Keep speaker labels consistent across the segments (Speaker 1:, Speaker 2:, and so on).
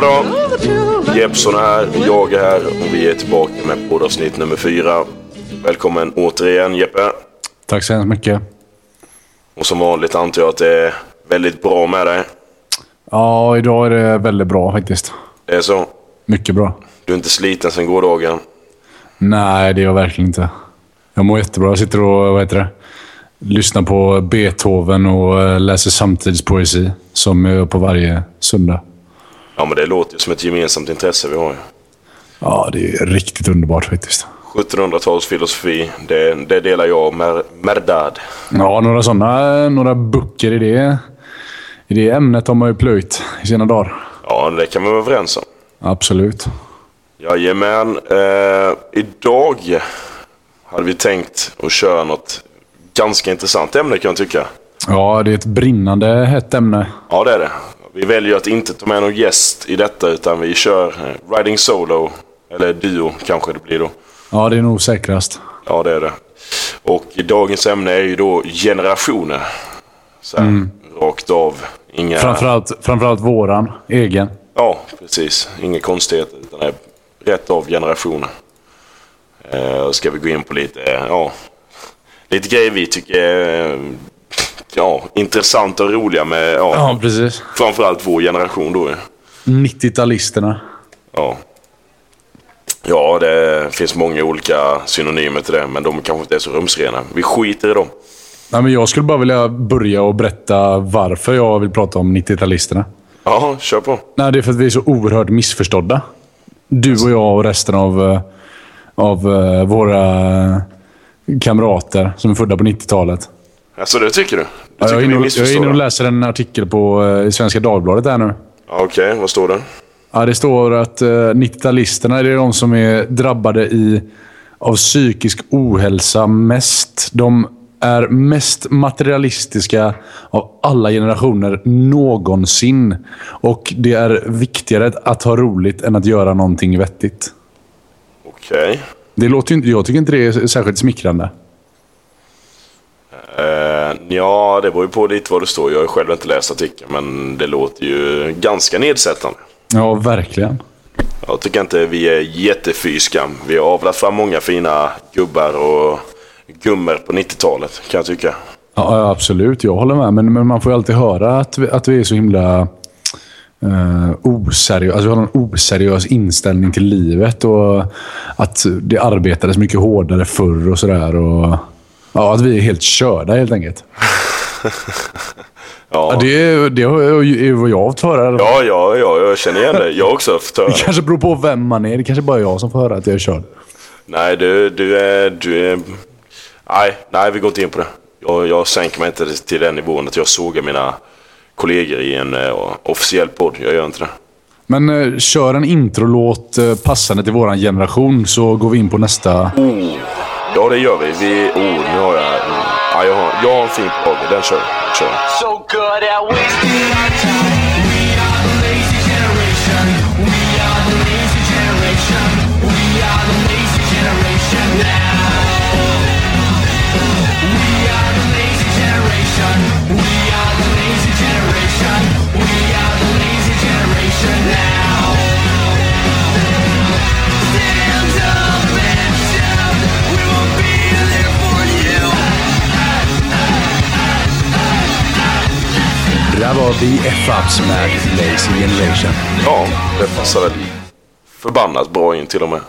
Speaker 1: då! Jeppson är här, jag är här och vi är tillbaka med poddavsnitt nummer fyra. Välkommen återigen Jeppe.
Speaker 2: Tack så hemskt mycket.
Speaker 1: Och som vanligt antar jag att det är väldigt bra med dig.
Speaker 2: Ja, idag är det väldigt bra faktiskt.
Speaker 1: Det är så.
Speaker 2: Mycket bra.
Speaker 1: Du är inte sliten sedan gårdagen.
Speaker 2: Nej, det är jag verkligen inte. Jag mår jättebra. Jag sitter och vad heter det, lyssnar på Beethoven och eh, läser samtidspoesi som jag gör på varje söndag.
Speaker 1: Ja men det låter ju som ett gemensamt intresse vi har ju.
Speaker 2: Ja, det är riktigt underbart faktiskt.
Speaker 1: 1700-talsfilosofi, det, det delar jag med Merdad.
Speaker 2: Ja, några sådana eh, några böcker i det, i det ämnet har man ju plöjt i sina dagar.
Speaker 1: Ja, det kan vi vara överens om.
Speaker 2: Absolut.
Speaker 1: Jajamän. Eh, idag hade vi tänkt att köra något ganska intressant ämne kan jag tycka.
Speaker 2: Ja, det är ett brinnande hett ämne.
Speaker 1: Ja, det är det. Vi väljer att inte ta med någon gäst i detta utan vi kör eh, Riding Solo. Eller Duo kanske det blir då.
Speaker 2: Ja, det är nog säkrast.
Speaker 1: Ja, det är det. Och dagens ämne är ju då generationer. Så här, Rakt av. Inga...
Speaker 2: Framförallt, framförallt våran egen.
Speaker 1: Ja, precis. Inga konstigheter. Utan det är rätt av generationer. Eh, ska vi gå in på lite, eh, ja, lite grejer vi tycker är eh, ja, intressanta och roliga med ja,
Speaker 2: Ja, precis.
Speaker 1: framförallt vår generation då. ju.
Speaker 2: 90-talisterna.
Speaker 1: Ja. ja, det finns många olika synonymer till det, men de kanske inte är så rumsrena. Vi skiter i dem.
Speaker 2: Nej, men jag skulle bara vilja börja och berätta varför jag vill prata om 90-talisterna.
Speaker 1: Ja, kör på.
Speaker 2: Nej, det är för att vi är så oerhört missförstådda. Du och jag och resten av, eh, av eh, våra kamrater som är födda på 90-talet.
Speaker 1: Alltså det tycker du? Du
Speaker 2: Ja,
Speaker 1: tycker
Speaker 2: Jag är,
Speaker 1: vi
Speaker 2: inne och, jag är
Speaker 1: missförstår
Speaker 2: inne och
Speaker 1: dem?
Speaker 2: läser en artikel på, eh, i Svenska Dagbladet här nu.
Speaker 1: Ja, Okej, vad står det?
Speaker 2: Ja, det står att eh, 90-talisterna det är de som är drabbade i, av psykisk ohälsa mest. De är mest materialistiska av alla generationer någonsin. Och det är viktigare att, att ha roligt än att göra någonting vettigt.
Speaker 1: Okej.
Speaker 2: Det låter ju inte, jag tycker inte det är särskilt smickrande.
Speaker 1: Eh, ja, det beror ju på lite vad det står. Jag har ju själv inte läst artikeln, men det låter ju ganska nedsättande.
Speaker 2: Ja, verkligen.
Speaker 1: Jag tycker inte vi är jättefyska. Vi har avlat fram många fina gubbar och gummor på 90-talet, kan jag tycka.
Speaker 2: Ja, ja, absolut. Jag håller med. Men, men man får ju alltid höra att vi, att vi är så himla eh, oseriösa. Alltså, vi har en oseriös inställning till livet och att det arbetades mycket hårdare förr och sådär. Och, ja, att vi är helt körda helt enkelt. Ja,
Speaker 1: Ja,
Speaker 2: det är, det är ju vad jag har fått höra.
Speaker 1: ja, ja, ja jag känner igen det. Jag också har fått höra.
Speaker 2: Det kanske beror på vem man är. Det kanske bara är jag som får höra att jag är körd.
Speaker 1: Nej, du, du är... Du är... Nej, nej, vi går inte in på det. Jag, jag sänker mig inte till den nivån att jag sågar mina kollegor i en eh, officiell podd. Jag gör inte det.
Speaker 2: Men eh, kör en introlåt eh, passande till vår generation så går vi in på nästa.
Speaker 1: Ja, det gör vi. vi oh, nu har jag... Ja, jag, har, jag har en fin podd. Den kör vi. Kör. vi.
Speaker 3: So good at wasting our time. We are the lazy generation. We are the lazy generation. We are the lazy generation now. We are the lazy generation. We are the lazy generation. We are the lazy generation now. Stand up and shout. We will be there for you.
Speaker 2: Det där var BFFs med Lazy Generation.
Speaker 1: Ja, det passar väl förbannat bra in till och med.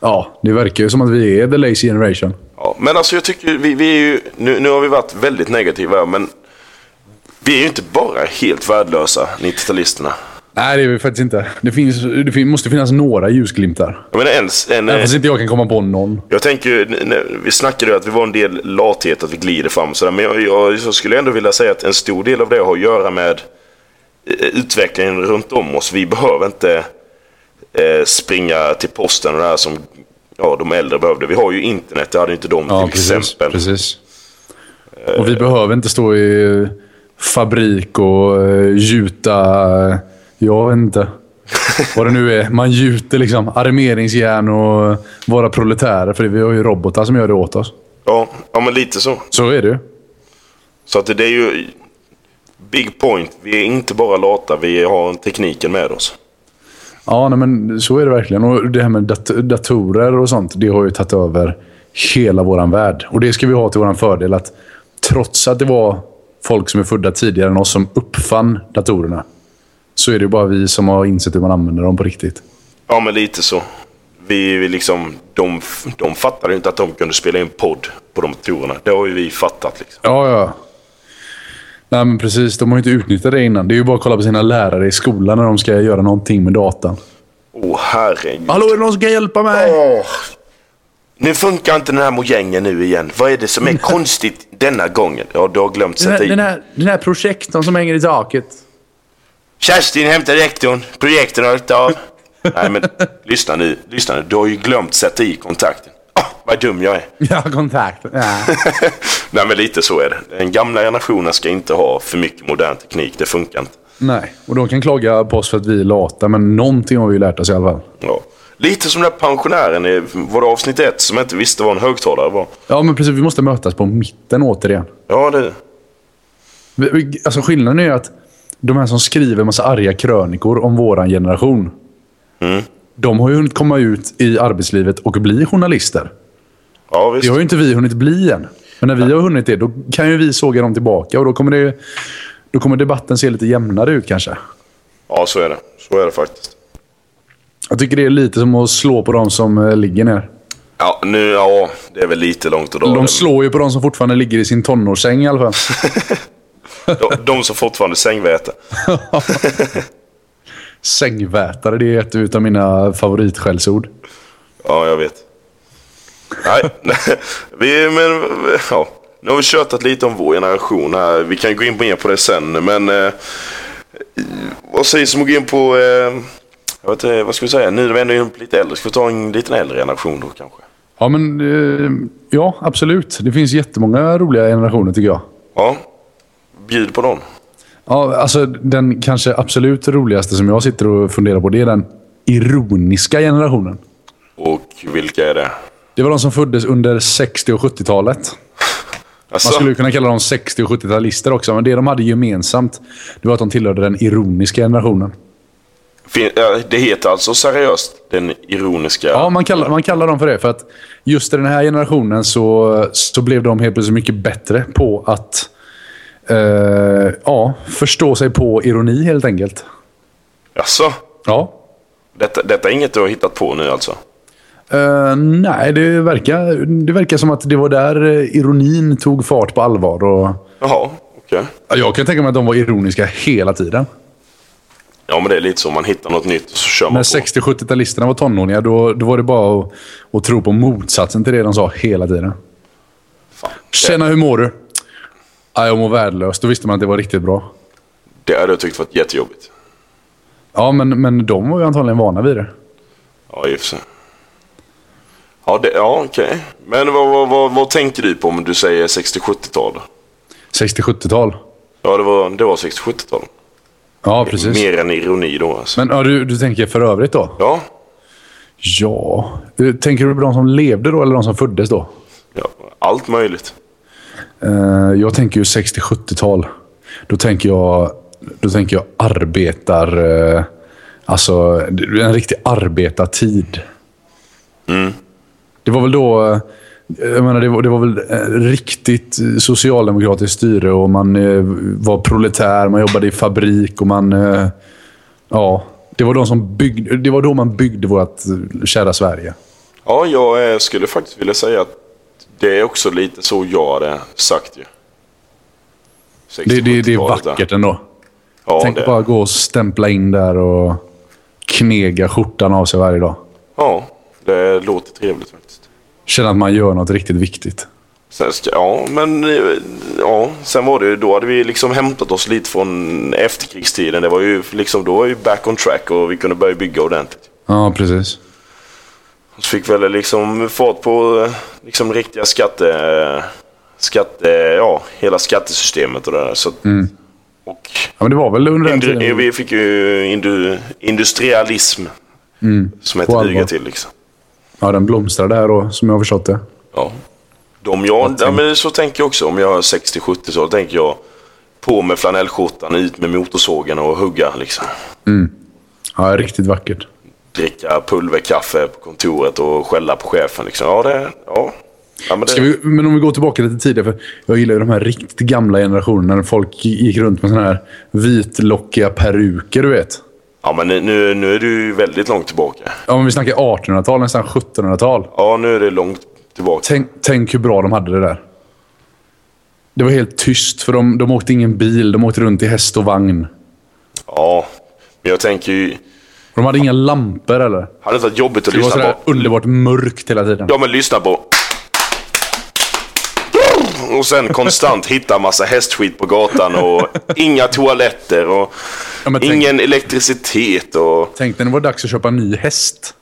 Speaker 2: Ja, det verkar ju som att vi är the lazy generation.
Speaker 1: Ja, men alltså jag tycker vi, vi är ju... Nu, nu har vi varit väldigt negativa här, men... Vi är ju inte bara helt värdelösa, 90-talisterna.
Speaker 2: Nej, det är vi faktiskt inte. Det, finns, det fin- måste finnas några ljusglimtar.
Speaker 1: Jag menar, ens, en,
Speaker 2: Även fast inte jag kan komma på någon.
Speaker 1: jag tänker ju, n- n- vi snackade ju att vi var en del lathet, att vi glider fram och sådär. Men jag, jag, jag skulle ändå vilja säga att en stor del av det har att göra med eh, utvecklingen runt om oss. Vi behöver inte eh, springa till posten och det här som ja, de äldre behövde. Vi har ju internet, det hade ju inte de till exempel.
Speaker 2: precis. Och vi behöver inte stå i eh, fabrik och eh, gjuta... eh, Jag vet inte. Vad det nu är. Man gjuter liksom armeringsjärn och våra proletärer. För vi har ju robotar som gör det åt oss.
Speaker 1: Ja, ja, men lite så.
Speaker 2: Så är det ju.
Speaker 1: Så att det det är ju... Big point. Vi är inte bara lata, vi har tekniken med oss.
Speaker 2: Ja, nej, men så är det verkligen. Och det här med dat- datorer och sånt, det har ju tagit över hela vår värld. Och det ska vi ha till vår fördel. att Trots att det var folk som är födda tidigare än oss som uppfann datorerna, så är det ju bara vi som har insett hur man använder dem på riktigt.
Speaker 1: Ja, men lite så. Vi, vi liksom, de, de fattade ju inte att de kunde spela in podd på de datorerna. Det har ju vi fattat. Liksom.
Speaker 2: Ja, ja. Nej, men precis. De har ju inte utnyttjat det innan. Det är ju bara att kolla på sina lärare i skolan när de ska göra någonting med datan.
Speaker 1: Åh, herregud.
Speaker 2: Hallå, är det någon som kan hjälpa mig?
Speaker 1: Åh. Nu funkar inte den här mojängen nu igen. Vad är det som är konstigt denna gången? Ja, du har glömt sätta i.
Speaker 2: här, Mm. den här projektorn som hänger i taket.
Speaker 1: Kerstin, hämta rektorn. Projektorn har lagt av. Nej, men lyssna nu. Lyssna nu. Du har ju glömt sätta i kontakten. Ah, vad dum jag är.
Speaker 2: Ja, kontakt. Ja.
Speaker 1: Nej, men lite så är det. Den gamla generationen ska inte ha för mycket modern teknik. Det funkar inte.
Speaker 2: Nej, och de kan klaga på oss för att vi är lata, men någonting har vi ju lärt oss i alla fall.
Speaker 1: Ja. Lite som den där pensionären i var det avsnitt ett som inte visste vad en högtalare var.
Speaker 2: Ja, men precis. Vi måste mötas på mitten återigen.
Speaker 1: Ja, det...
Speaker 2: Vi- vi- Alltså skillnaden är ju att de här som skriver massa arga krönikor om våran generation. De har ju hunnit komma ut i arbetslivet och bli journalister.
Speaker 1: Ja, visst.
Speaker 2: Det har ju inte vi hunnit bli än. Men när vi har hunnit det, då kan ju vi såga dem tillbaka och då kommer, det, då kommer debatten se lite jämnare ut kanske.
Speaker 1: Ja, så är det. Så är det faktiskt.
Speaker 2: Jag tycker det är lite som att slå på de som eh, ligger ner.
Speaker 1: Ja, nu... Ja, det är väl lite långt att dra
Speaker 2: De
Speaker 1: det.
Speaker 2: slår ju på de som fortfarande ligger i sin tonårssäng i alla fall.
Speaker 1: De, de som fortfarande sängväter.
Speaker 2: Sängvätare, det är ett utav mina favoritskällsord.
Speaker 1: Ja, jag vet. Nej, nej, vi, men, ja. Nu har vi tjötat lite om vår generation här. Vi kan gå in mer på det sen, men... Eh, vad sägs om att gå in på... Eh, jag vet inte, vad ska vi säga? Nu när vi ändå är lite äldre, ska vi ta en liten äldre generation då kanske?
Speaker 2: Ja, men eh, ja, absolut. Det finns jättemånga roliga generationer tycker jag.
Speaker 1: Ja, bjud på dem.
Speaker 2: Ja, alltså den kanske absolut roligaste som jag sitter och funderar på, det är den ironiska generationen.
Speaker 1: Och vilka är det?
Speaker 2: Det var de som föddes under 60 och 70-talet.
Speaker 1: Alltså,
Speaker 2: Man skulle ju kunna kalla dem 60 och 70-talister också, men det de hade gemensamt det var att de tillhörde den ironiska generationen.
Speaker 1: fin, ja, det heter alltså seriöst den ironiska...
Speaker 2: Ja, man kallar, man kallar dem för det. För att just i den här generationen så, så blev de helt plötsligt mycket bättre på att eh, ja, förstå sig på ironi helt enkelt.
Speaker 1: Alltså,
Speaker 2: Ja.
Speaker 1: detta, detta är inget du har hittat på nu alltså?
Speaker 2: Eh, nej, det verkar, det verkar som att det var där eh, ironin tog fart på allvar. Och,
Speaker 1: Jaha, okej.
Speaker 2: ja, jag kan tänka mig att de var ironiska hela tiden.
Speaker 1: Ja, men det är lite så. Man hittar något nytt och så kör man
Speaker 2: När
Speaker 1: på.
Speaker 2: 60-70-talisterna var tonåringar, då, då var det bara att, att tro på motsatsen till det de sa hela tiden.
Speaker 1: Fan, det,
Speaker 2: Tjena, hur mår du? "Ja, Jag mår värdelös. Då visste man att det var riktigt bra.
Speaker 1: det hade jag tyckt varit jättejobbigt.
Speaker 2: Ja, men, men de var ju antagligen vana vid det.
Speaker 1: Ja, i och för sig. Ja, det- ja okej. Men vad, vad, vad, vad tänker du på om du säger 60-70-tal?
Speaker 2: 60-70-tal.
Speaker 1: Ja, det var, det var 60-70-tal.
Speaker 2: Ja, precis.
Speaker 1: Mer än ironi då alltså.
Speaker 2: Men ja, du, du tänker för övrigt då?
Speaker 1: Ja,
Speaker 2: Ja. Eh, Tänker du på de som levde då eller de som föddes då?
Speaker 1: ja, allt möjligt.
Speaker 2: Eh, jag tänker ju 60-70-tal. Då tänker jag, då tänker jag arbetar... eh, alltså, en riktig arbetartid. Det var väl då... eh, Jag menar, det, var, det var väl eh, riktigt socialdemokratiskt styre och man eh, var proletär, man jobbade i fabrik och man... Eh, ja, det var, de som byggde, det var då man byggde vårt eh, kära Sverige.
Speaker 1: Ja, jag eh, skulle faktiskt vilja säga att det är också lite så jag hade sagt ju.
Speaker 2: Det, det, det är
Speaker 1: 60-70-talet,
Speaker 2: vackert ändå.
Speaker 1: Ja,
Speaker 2: Tänk
Speaker 1: det.
Speaker 2: bara gå och stämpla in där och knega skjortan av sig varje dag.
Speaker 1: ja, det låter trevligt faktiskt.
Speaker 2: Känna att man gör något riktigt viktigt.
Speaker 1: Sen ska, ja, men eh, ja, sen var det ju, då hade vi liksom hämtat oss lite från efterkrigstiden. Det var ju liksom, då var ju back on track och vi kunde börja bygga ordentligt.
Speaker 2: Ja, precis.
Speaker 1: Så fick väl liksom fart på eh, liksom riktiga skatte, skatte, ja, hela skattesystemet och det där. Så, att-
Speaker 2: Mm.
Speaker 1: Och
Speaker 2: Ja, men det var väl under den
Speaker 1: indu,
Speaker 2: tiden.
Speaker 1: vi fick ju eh, indu, industrialism som
Speaker 2: Mm. På
Speaker 1: hette
Speaker 2: allvar.
Speaker 1: duga till liksom.
Speaker 2: Ja, den blomstrade här då, som jag har förstått det.
Speaker 1: Ja. De jag, ja, men så tänker jag också. Om jag är 60-70 så tänker jag på med flanellskjortan, ut med motorsågen och hugga liksom.
Speaker 2: Ja, riktigt vackert.
Speaker 1: Dricka pulverkaffe på kontoret och skälla på chefen. Liksom. Ja, det... Ja. Ja, men det,
Speaker 2: Ska vi, men om vi går tillbaka lite tidigare. För jag gillar ju de här riktigt gamla generationerna. När folk gick runt med såna här vitlockiga peruker, du vet.
Speaker 1: ja, men nu, nu är du ju väldigt långt tillbaka.
Speaker 2: Ja, men vi snackar 1800-tal, nästan 1700-tal.
Speaker 1: Ja, nu är det långt tillbaka.
Speaker 2: Tänk, tänk hur bra de hade det där. Det var helt tyst, för de, de åkte ingen bil. De åkte runt i häst och vagn.
Speaker 1: Ja, men jag tänker ju...
Speaker 2: De hade inga lampor eller.
Speaker 1: Hade det varit jobbigt att
Speaker 2: Det var
Speaker 1: lyssna
Speaker 2: sådär
Speaker 1: på?
Speaker 2: underbart mörkt hela tiden.
Speaker 1: Ja, men lyssna på... Och sen konstant hitta massa hästskit på gatan och inga toaletter och
Speaker 2: Ja, men tänk-
Speaker 1: ingen elektricitet och...
Speaker 2: Tänk när det var dags att köpa en ny häst.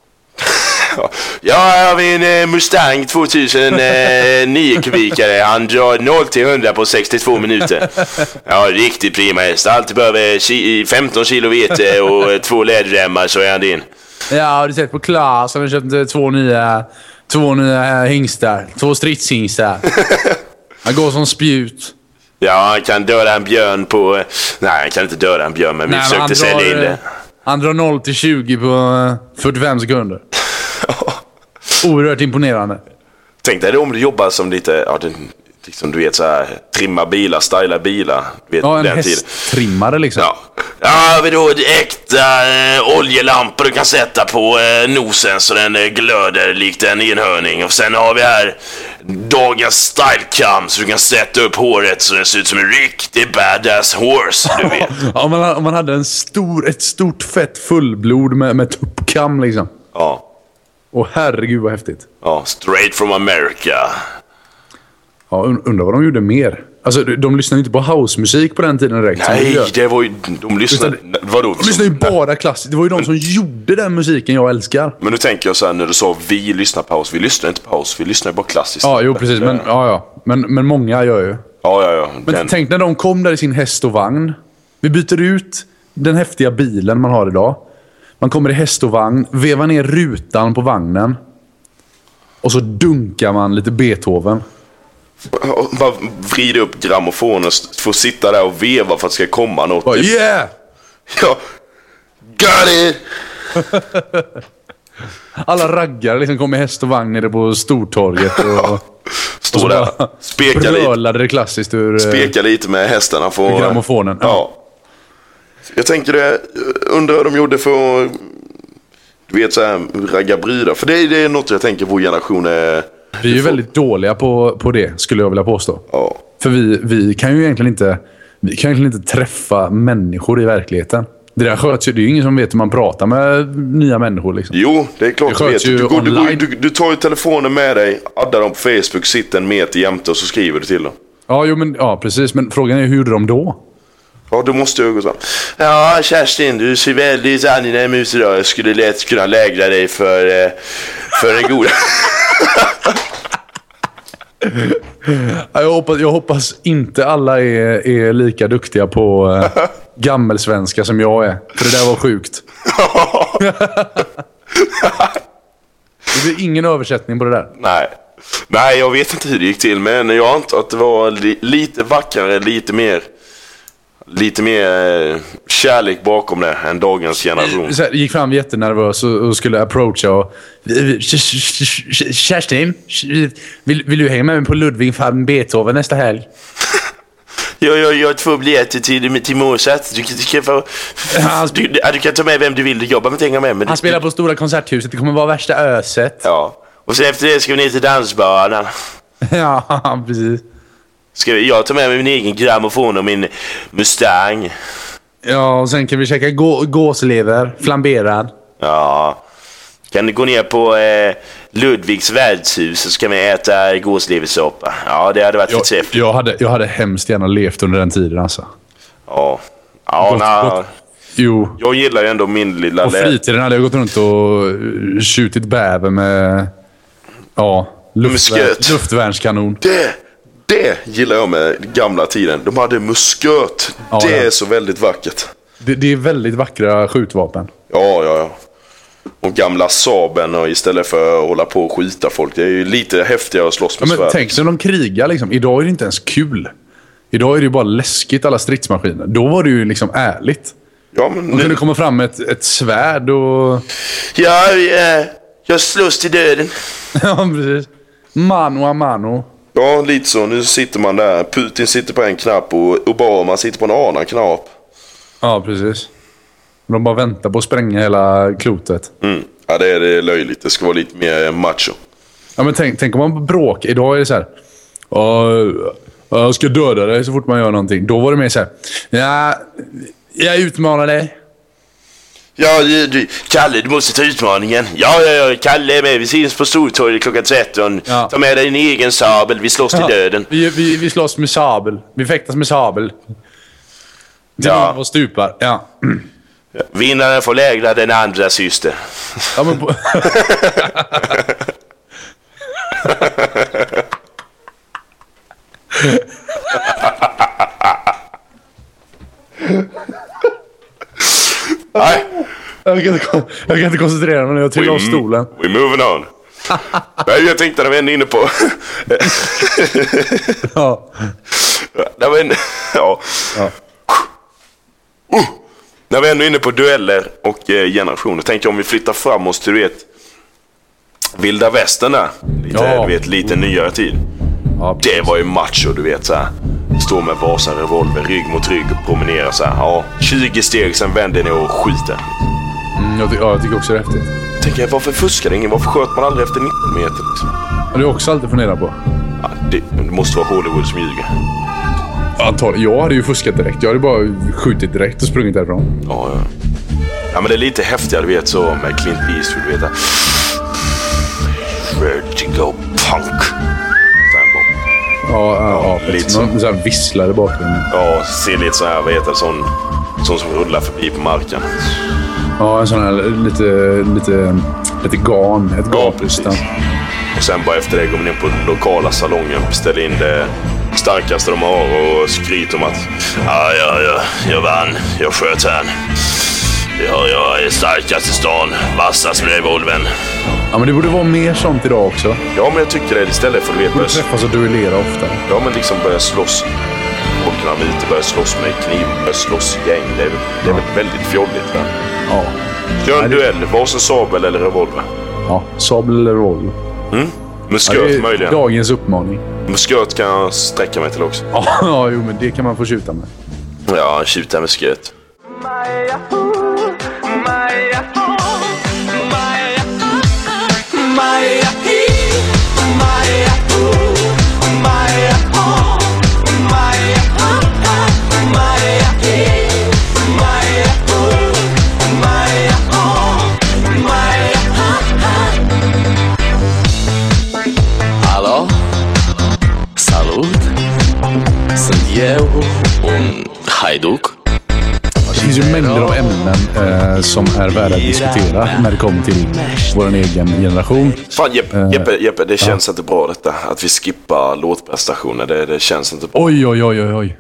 Speaker 1: Ja, här har vi en eh, Mustang 2009 kubikare. Han drar 0 till 100 på 62 minuter. Ja, riktigt prima häst. Allt behöver ki- 15 kilo vete och eh, två läderremmar så är han din.
Speaker 2: Ja, har du sett på Klas? Han har köpt eh, två nya, två nya eh, hingstar. Två stridshingstar. Han går som spjut.
Speaker 1: Ja, han kan döda en björn på... eh, Nej, han kan inte döda en björn, men vi
Speaker 2: Nej, men
Speaker 1: försökte sälja in
Speaker 2: eh,
Speaker 1: det.
Speaker 2: han drar 0 till 20 på eh, 45 sekunder. Oerhört imponerande.
Speaker 1: Tänk dig det om du jobbar som lite... Ja, det, liksom, du vet så här, trimma bilar, styla bilar. Du vet,
Speaker 2: Ja, en
Speaker 1: den tiden.
Speaker 2: hästtrimmare liksom.
Speaker 1: Ja. Ja, vi då ett äkta eh, oljelampa du kan sätta på eh, nosen så den eh, glöder likt en enhörning. Och sen har vi här dagens stylecam så du kan sätta upp håret så den ser ut som en riktig badass horse, du vet.
Speaker 2: Ja, om, man, om man hade en stor, ett stort fett fullblod med, med tuppkam liksom.
Speaker 1: ja.
Speaker 2: Åh herregud vad häftigt.
Speaker 1: Ja, straight from America.
Speaker 2: Ja, und- undrar vad de gjorde mer. Alltså, de, de lyssnade ju inte på housemusik på den tiden direkt. som vi
Speaker 1: Nej,
Speaker 2: gör.
Speaker 1: det var ju... De lyssnade...
Speaker 2: Utan-
Speaker 1: Vadå?
Speaker 2: De lyssnade ju bara klassiskt. Det var ju de som gjorde den musiken jag älskar.
Speaker 1: Men nu tänker jag så här när du sa vi lyssnar på house. Vi lyssnar inte på house, vi lyssnar bara klassiskt.
Speaker 2: Ja, jo precis. Men, ja, ja. Men, men många gör ju.
Speaker 1: ja, ja. ja.
Speaker 2: Men
Speaker 1: Den,
Speaker 2: tänk när de kom där i sin häst och vagn. Vi byter ut den häftiga bilen man har idag. Man kommer i häst och vagn, vevar ner rutan på vagnen. Och så dunkar man lite Beethoven.
Speaker 1: Bara vrida upp grammofonen och s- få sitta där och veva för att det ska komma något.
Speaker 2: Bara, yeah!
Speaker 1: Ja. Got it!
Speaker 2: Alla raggare liksom kom i häst och vagn nere på Stortorget. Och,
Speaker 1: Stå där, speka lite,
Speaker 2: brölade det klassiskt ur... eh,
Speaker 1: speka lite med hästarna. För,
Speaker 2: Grammofonen, ja.
Speaker 1: Ja. Jag tänker det, eh, undrar hur de gjorde för att, du vet så här, ragga brudar. För det, är- det är något jag tänker vår generation är...
Speaker 2: Vi är ju väldigt dåliga på, på det, skulle jag vilja påstå.
Speaker 1: Ja.
Speaker 2: För vi, vi kan ju egentligen inte, vi kan egentligen inte träffa människor i verkligheten. Det där sköts ju. Det är ju ingen som vet hur man pratar med nya människor. Liksom.
Speaker 1: Jo, det är klart
Speaker 2: Det
Speaker 1: du vet.
Speaker 2: sköts ju
Speaker 1: Du, går, du, går,
Speaker 2: online.
Speaker 1: du, du tar ju telefonen med dig, addar dem på Facebook, sitter en meter jämte och så skriver du till dem.
Speaker 2: Ja, jo, men, ja, precis. Men frågan är hur gjorde de då?
Speaker 1: Ja, du måste ju gå så. Ja, Kerstin, du ser väldigt angenäm ut idag. Jag skulle lätt kunna lägra dig för, eh, för en god...
Speaker 2: Ja, Jag hoppas, jag hoppas inte alla är, är lika duktiga på eh, gammelsvenska som jag är. För det där var sjukt. Det blir ingen översättning på det där.
Speaker 1: Nej. Nej, jag vet inte hur det gick till, men jag antar att det var li- lite vackrare, lite mer... Lite mer eh, kärlek bakom det än dagens generation.
Speaker 2: Så här, gick fram jättenervös och, och skulle approacha. Och, Kerstin, vill, vill du hänga med mig på Ludwig van Beethoven nästa helg?
Speaker 1: Jag, jag, jag har två biljetter till, till Mozart. Du, kan- du, kan få,
Speaker 2: Han sp-
Speaker 1: du, ja, du kan ta med vem du vill. Du jobbar med tänka med. Men
Speaker 2: Han spelar på Stora Konserthuset. Det kommer vara värsta öset.
Speaker 1: Ja. Och sen efter det ska vi ner till dansbanan.
Speaker 2: Ja, precis.
Speaker 1: Ska vi, jag tar med mig min egen grammofon och min Mustang.
Speaker 2: Ja, och sen kan vi käka gå- gåslever, flamberad.
Speaker 1: Ja. Kan du gå ner på eh, Ludvigs värdshus så ska vi äta gåsleversoppa. Ja, det hade varit
Speaker 2: Jag,
Speaker 1: förträffligt.
Speaker 2: jag, hade, jag hade hemskt gärna levt under den tiden alltså.
Speaker 1: Ja. Ja,
Speaker 2: Gott,
Speaker 1: na,
Speaker 2: gott. Jo.
Speaker 1: Jag gillar ju ändå min lilla
Speaker 2: På
Speaker 1: lä-
Speaker 2: fritiden hade jag gått runt och eh, skjutit bäver med... Ja.
Speaker 1: Musköt.
Speaker 2: Luftvärns, luftvärnskanon.
Speaker 1: Det, det gillar jag med gamla tiden. De hade musköt.
Speaker 2: Ja,
Speaker 1: det
Speaker 2: ja.
Speaker 1: är så väldigt vackert.
Speaker 2: Det, det är väldigt vackra skjutvapen.
Speaker 1: Ja, ja, ja. Och gamla Saben och istället för att hålla på och skjuta folk. Det är ju lite häftigare att slåss
Speaker 2: Ja,
Speaker 1: med
Speaker 2: men
Speaker 1: svärd.
Speaker 2: tänk sig om de krigar. Liksom. Idag är det inte ens kul. Idag är det ju bara läskigt, alla stridsmaskiner. Då var det ju liksom ärligt.
Speaker 1: Ja, men
Speaker 2: De kunde
Speaker 1: nu...
Speaker 2: komma fram med ett, ett svärd och...
Speaker 1: Ja, eh, jag slåss till döden.
Speaker 2: ja, precis. Mano a mano.
Speaker 1: Ja, lite så. Nu sitter man där. Putin sitter på en knapp och Obama sitter på en annan knapp.
Speaker 2: Ja, precis. De bara väntar på att spränga hela klotet.
Speaker 1: Mm. Ja, det är, det är löjligt. Det ska vara lite mer macho.
Speaker 2: Ja, men tänk, tänk om man bråk. Idag är det så här. "Ja, Jag ska döda dig så fort man gör någonting. Då var det mer så här. Ja, jag utmanar dig.
Speaker 1: Ja, du, du, Kalle, du måste ta utmaningen. Ja, ja, ja, Kalle är med. Vi syns på Stortorget klockan 13.
Speaker 2: Ja.
Speaker 1: Ta med dig din egen sabel. Vi slåss till döden.
Speaker 2: Vi, vi, vi slåss med sabel. Vi fäktas med sabel. Till
Speaker 1: Ja.
Speaker 2: någon av oss stupar. Ja.
Speaker 1: Vinnaren får lägra den andra syster.
Speaker 2: ja men på...
Speaker 1: Nej,
Speaker 2: jag, kan inte, kon- jag kan inte koncentrera mig när jag trillar av stolen.
Speaker 1: we're Mm. moving on. Nej, jag tänkte när vi ändå är inne på...
Speaker 2: Ja.
Speaker 1: när vi ändå... Ja.
Speaker 2: Ja.
Speaker 1: Uh! När vi ändå är inne på dueller och eh, generationer. Tänkte jag om vi flyttar fram oss till, du vet, vilda västern där. Lite,
Speaker 2: Ja.
Speaker 1: Du vet, lite nyare tid.
Speaker 2: Ja,
Speaker 1: Det var ju macho, du vet så här. Står med Vasa revolver rygg mot rygg och promenerar så här. Ja, 20 steg, sen vänder ni och skjuter.
Speaker 2: mm, jag, ty- ja, jag tycker också det är häftigt.
Speaker 1: Tänker jag, varför fuskade ingen? Varför sköt man aldrig efter 19 meter? Liksom?
Speaker 2: Det har jag också alltid funderat på.
Speaker 1: Ja, det, det måste vara Hollywood som ljuger.
Speaker 2: Antagligen. Jag hade ju fuskat direkt. Jag hade bara skjutit direkt och sprungit därifrån.
Speaker 1: Ja, ja. ja, men det är lite häftigare, du vet så med Clint Eastwood, du vet. där. Vertigo punk. Sen bara
Speaker 2: Ja, ja, ja
Speaker 1: lite
Speaker 2: lite
Speaker 1: så.
Speaker 2: Någon så här visslar i bakgrunden.
Speaker 1: Ja, ser lite så här, vad heter det, sån, sån som rullar förbi på marken.
Speaker 2: Ja, en sån här lite... Lite, lite garn. Ett garn. på
Speaker 1: precis.
Speaker 2: listan.
Speaker 1: Och sen bara efter det går man in på den lokala salongen och beställer in det starkaste de har och skryter om att ja, ja, ja, jag vann, jag sköt här. Ja, jag är starkast i stan, vassast med revolvern.
Speaker 2: Ja, men det borde vara mer sånt idag också.
Speaker 1: Ja, men jag tycker det istället för att du vet,
Speaker 2: Borde
Speaker 1: börja,
Speaker 2: träffas och duellera ofta.
Speaker 1: ja, men liksom börja slåss. Folk när ute börjar slåss med kniv, börjar slåss i gäng. Det är, det är väl väldigt fjolligt. Va?
Speaker 2: Ja.
Speaker 1: Gör en duell, varsin sabel eller revolver.
Speaker 2: Ja, sabel eller roll.
Speaker 1: Med
Speaker 2: Ja, det
Speaker 1: sköt
Speaker 2: är
Speaker 1: möjligen.
Speaker 2: dagens uppmaning.
Speaker 1: Men sköt kan jag sträcka mig till också.
Speaker 2: Ja, jo, men det kan man få tjuta med.
Speaker 1: Ja, tjuta med sköt.
Speaker 4: Alo? Salut! Sunt eu, un haiduc
Speaker 2: Det finns ju mängder av ämnen eh, som är värda att diskutera när det kommer till vår egen generation.
Speaker 1: Fan Jeppe,
Speaker 2: Eh,
Speaker 1: Jeppe, Jeppe det känns inte bra detta. Att vi skippar låtprestationer. Det, det känns inte bra.
Speaker 2: Oj, oj, oj, oj, oj.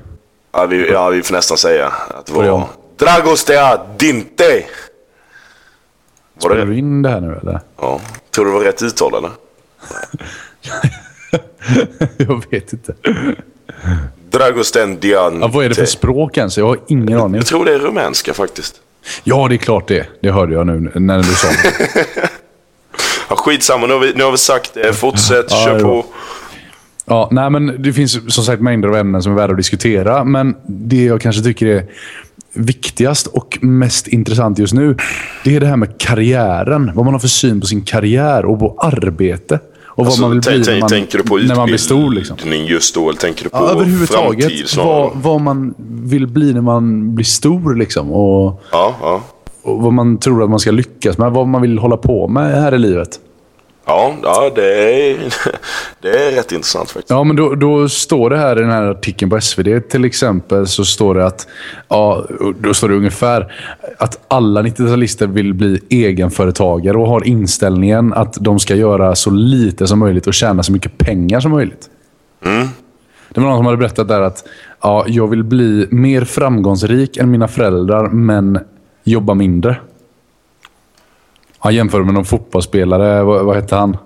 Speaker 1: Ja, vi, ja, vi får nästan säga att det
Speaker 2: jag?
Speaker 1: var... Dragostea dinte! Var
Speaker 2: Spelar
Speaker 1: det
Speaker 2: du
Speaker 1: rätt?
Speaker 2: in det här nu eller?
Speaker 1: Ja. Tror du det var rätt uttal eller?
Speaker 2: Jag vet inte.
Speaker 1: Dragosten diante.
Speaker 2: Ja, vad är det för språk ens? Jag har ingen aning.
Speaker 1: Jag tror det är rumänska faktiskt.
Speaker 2: Ja, det är klart det. Det hörde jag nu när du sa det.
Speaker 1: Ja, skitsamma, nu har, vi, nu har vi sagt det. Fortsätt,
Speaker 2: Ja,
Speaker 1: kör
Speaker 2: det var-
Speaker 1: på.
Speaker 2: Ja, nej, men det finns som sagt mängder av ämnen som är värda att diskutera. Men det jag kanske tycker är viktigast och mest intressant just nu, det är det här med karriären. Vad man har för syn på sin karriär och på arbete. Och vad
Speaker 1: Alltså,
Speaker 2: man vill
Speaker 1: tänk-
Speaker 2: bli när
Speaker 1: tänk-
Speaker 2: man,
Speaker 1: tänker du på
Speaker 2: när man blir stor. Liksom.
Speaker 1: utbildning just då? Eller tänker du på
Speaker 2: Ja,
Speaker 1: framtid
Speaker 2: överhuvudtaget
Speaker 1: snarare?
Speaker 2: vad, vad man vill bli när man blir stor. Liksom, och,
Speaker 1: Ja, ja.
Speaker 2: och vad man tror att man ska lyckas med. Vad man vill hålla på med här i livet.
Speaker 1: Ja, ja det, är, det är rätt intressant faktiskt.
Speaker 2: Ja, men då, då står det här i den här artikeln på SvD till exempel, så står det att, ja, då står det ungefär att alla 90-talister vill bli egenföretagare och har inställningen att de ska göra så lite som möjligt och tjäna så mycket pengar som möjligt. Det var någon som hade berättat där att ja, jag vill bli mer framgångsrik än mina föräldrar, men jobba mindre. Han jämförde med någon fotbollsspelare. Vad, vad hette han?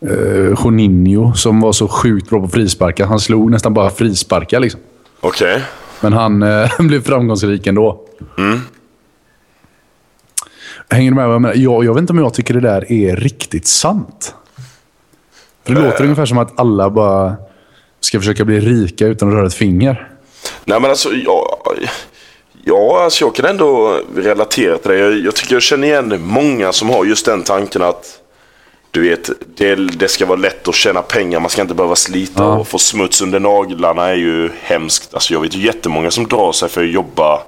Speaker 2: Eh, Juninho, som var så sjukt bra på frisparkar. Han slog nästan bara frisparkar. Liksom.
Speaker 1: Okej. Mm.
Speaker 2: Men han eh, blev framgångsrik ändå. Hänger du med vad jag menar? Jag, jag vet inte om jag tycker det där är riktigt sant. För
Speaker 1: Eh.
Speaker 2: det låter ungefär som att alla bara ska försöka bli rika utan att röra ett finger.
Speaker 1: Nej men alltså, ja, ja, alltså jag kan ändå relatera till det. Jag, jag tycker jag känner igen många som har just den tanken att du vet, det, det ska vara lätt att tjäna pengar, man ska inte behöva slita och få smuts under naglarna är ju hemskt. Alltså jag vet ju jättemånga som drar sig för att jobba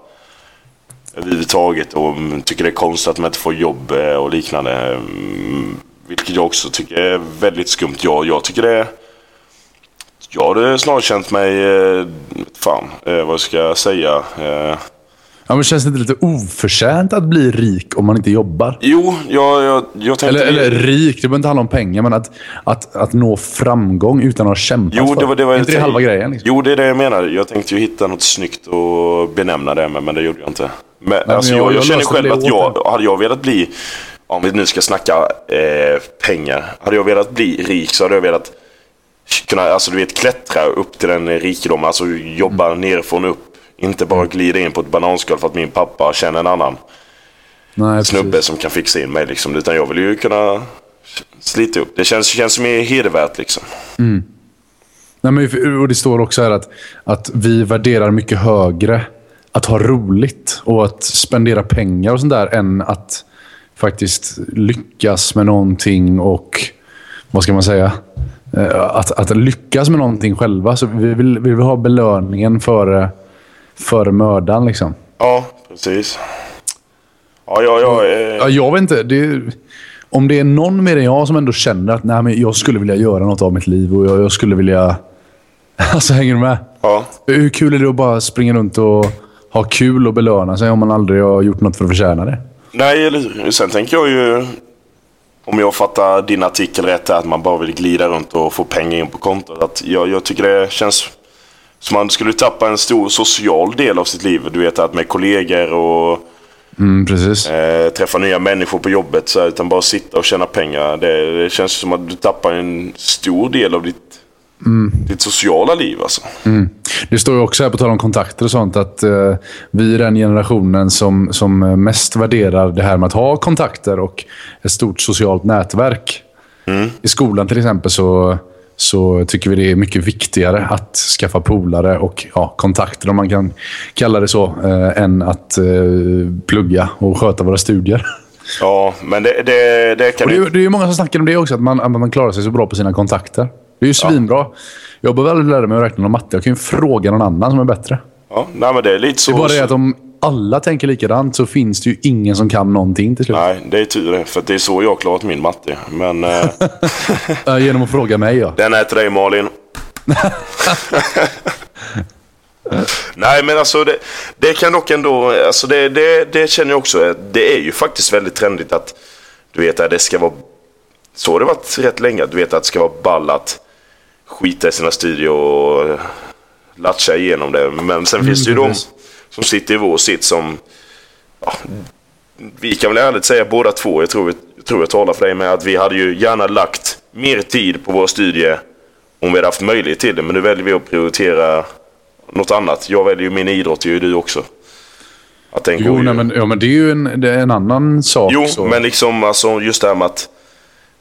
Speaker 1: överhuvudtaget och mm, tycker det är konstigt att man inte får jobb eh, och liknande. Mm, Vilket jag också tycker är väldigt skumt. Jag, jag tycker det är jag har snarare känt mig, eh, fan, eh, vad ska jag säga? Eh,
Speaker 2: Ja, men känns det inte lite oförtjänt att bli rik om man inte jobbar?
Speaker 1: jo, jag, jag, jag tänkte...
Speaker 2: Eller, eller rik, det behöver inte handla om pengar, men att, att, att nå framgång utan att ha kämpat
Speaker 1: jo,
Speaker 2: för
Speaker 1: det var, det var
Speaker 2: Är inte det halva grejen. Liksom.
Speaker 1: Jo, det är det jag menar. Jag tänkte ju hitta något snyggt att benämna det med, men det gjorde jag inte. Men,
Speaker 2: men
Speaker 1: alltså,
Speaker 2: jag-
Speaker 1: jag, jag,
Speaker 2: jag
Speaker 1: känner
Speaker 2: löste
Speaker 1: själv
Speaker 2: det
Speaker 1: att
Speaker 2: åt
Speaker 1: jag, hade jag velat bli, om vi nu ska snacka eh, pengar, hade jag velat bli rik så hade jag velat kunna, alltså du vet, klättra upp till den rikedomen, alltså jobba nerifrån och upp. Inte bara glida in på ett bananskal för att min pappa känner en annan
Speaker 2: Nej,
Speaker 1: snubbe
Speaker 2: precis.
Speaker 1: som kan fixa in mig. Liksom. Utan jag vill ju kunna slita upp. Det känns, känns mer hedervärt liksom.
Speaker 2: Nej, men, och det står också här att, att vi värderar mycket högre att ha roligt och att spendera pengar och sånt där än att faktiskt lyckas med någonting och, vad ska man säga, Eh, att, att lyckas med någonting själva. Så vi vill, vi vill ha belöningen före, före mödan. Liksom.
Speaker 1: Ja, precis. Ja, ja, ja. Eh,
Speaker 2: Mm. Ja, jag vet inte. Det är, om det är någon mer än jag som ändå känner att Nej, men jag skulle vilja göra något av mitt liv och jag, jag skulle vilja... Alltså, hänger du med?
Speaker 1: ja.
Speaker 2: Hur kul är det att bara springa runt och ha kul och belöna sig om man aldrig har gjort något för att förtjäna det?
Speaker 1: Nej, eller hur? Sen tänker jag ju... Om jag fattar din artikel rätt, här, att man bara vill glida runt och få pengar in på kontot. Att jag, jag tycker det känns som man skulle tappa en stor social del av sitt liv. Du vet, att med kollegor och
Speaker 2: Mm, precis.
Speaker 1: eh, träffa nya människor på jobbet. Så här, utan bara sitta och tjäna pengar. Det, det känns som att du tappar en stor del av ditt,
Speaker 2: Mm.
Speaker 1: ditt sociala liv. Alltså.
Speaker 2: Det står ju också här, på tal om kontakter och sånt, att eh, vi är den generationen som, som eh, mest värderar det här med att ha kontakter och ett stort socialt nätverk. I skolan till exempel så, så tycker vi det är mycket viktigare att skaffa polare och ja, kontakter, om man kan kalla det så, eh, än att eh, plugga och sköta våra studier.
Speaker 1: Ja, men det, det, det kan
Speaker 2: Och det,
Speaker 1: du...
Speaker 2: är- det är ju många som snackar om det också, att man, att man klarar sig så bra på sina kontakter. Det är ju svinbra. Jag behöver aldrig lära mig att räkna någon matte. Jag kan ju fråga någon annan som är bättre.
Speaker 1: Ja, nej, men det är lite så.
Speaker 2: Det är bara det att om alla tänker likadant så finns det ju ingen som kan någonting till slut.
Speaker 1: Nej, det är tur det. För att det är så jag har klarat min matte. Men eh,
Speaker 2: Eh, genom att fråga mig, ja.
Speaker 1: den är till dig Malin. Nej men alltså det, det kan dock ändå, alltså det, det, det känner jag också. Det är ju faktiskt väldigt trendigt att du vet att det ska vara, så har det varit rätt länge, att du vet att det ska vara ball att skita i sina studier och latcha igenom det. Men sen finns det ju de
Speaker 2: precis.
Speaker 1: som sitter i vår sitt som vi kan väl ärligt säga båda två, jag tror, jag tror jag talar för dig med, att vi hade ju gärna lagt mer tid på våra studier om vi hade haft möjlighet till det. Men nu väljer vi att prioritera något annat. Jag väljer ju min idrott, det gör ju du också. Att den
Speaker 2: Jo,
Speaker 1: går ju-
Speaker 2: nej, men, ja, men det är ju en, det är en annan sak.
Speaker 1: Jo,
Speaker 2: så.
Speaker 1: men liksom alltså, just det här med att,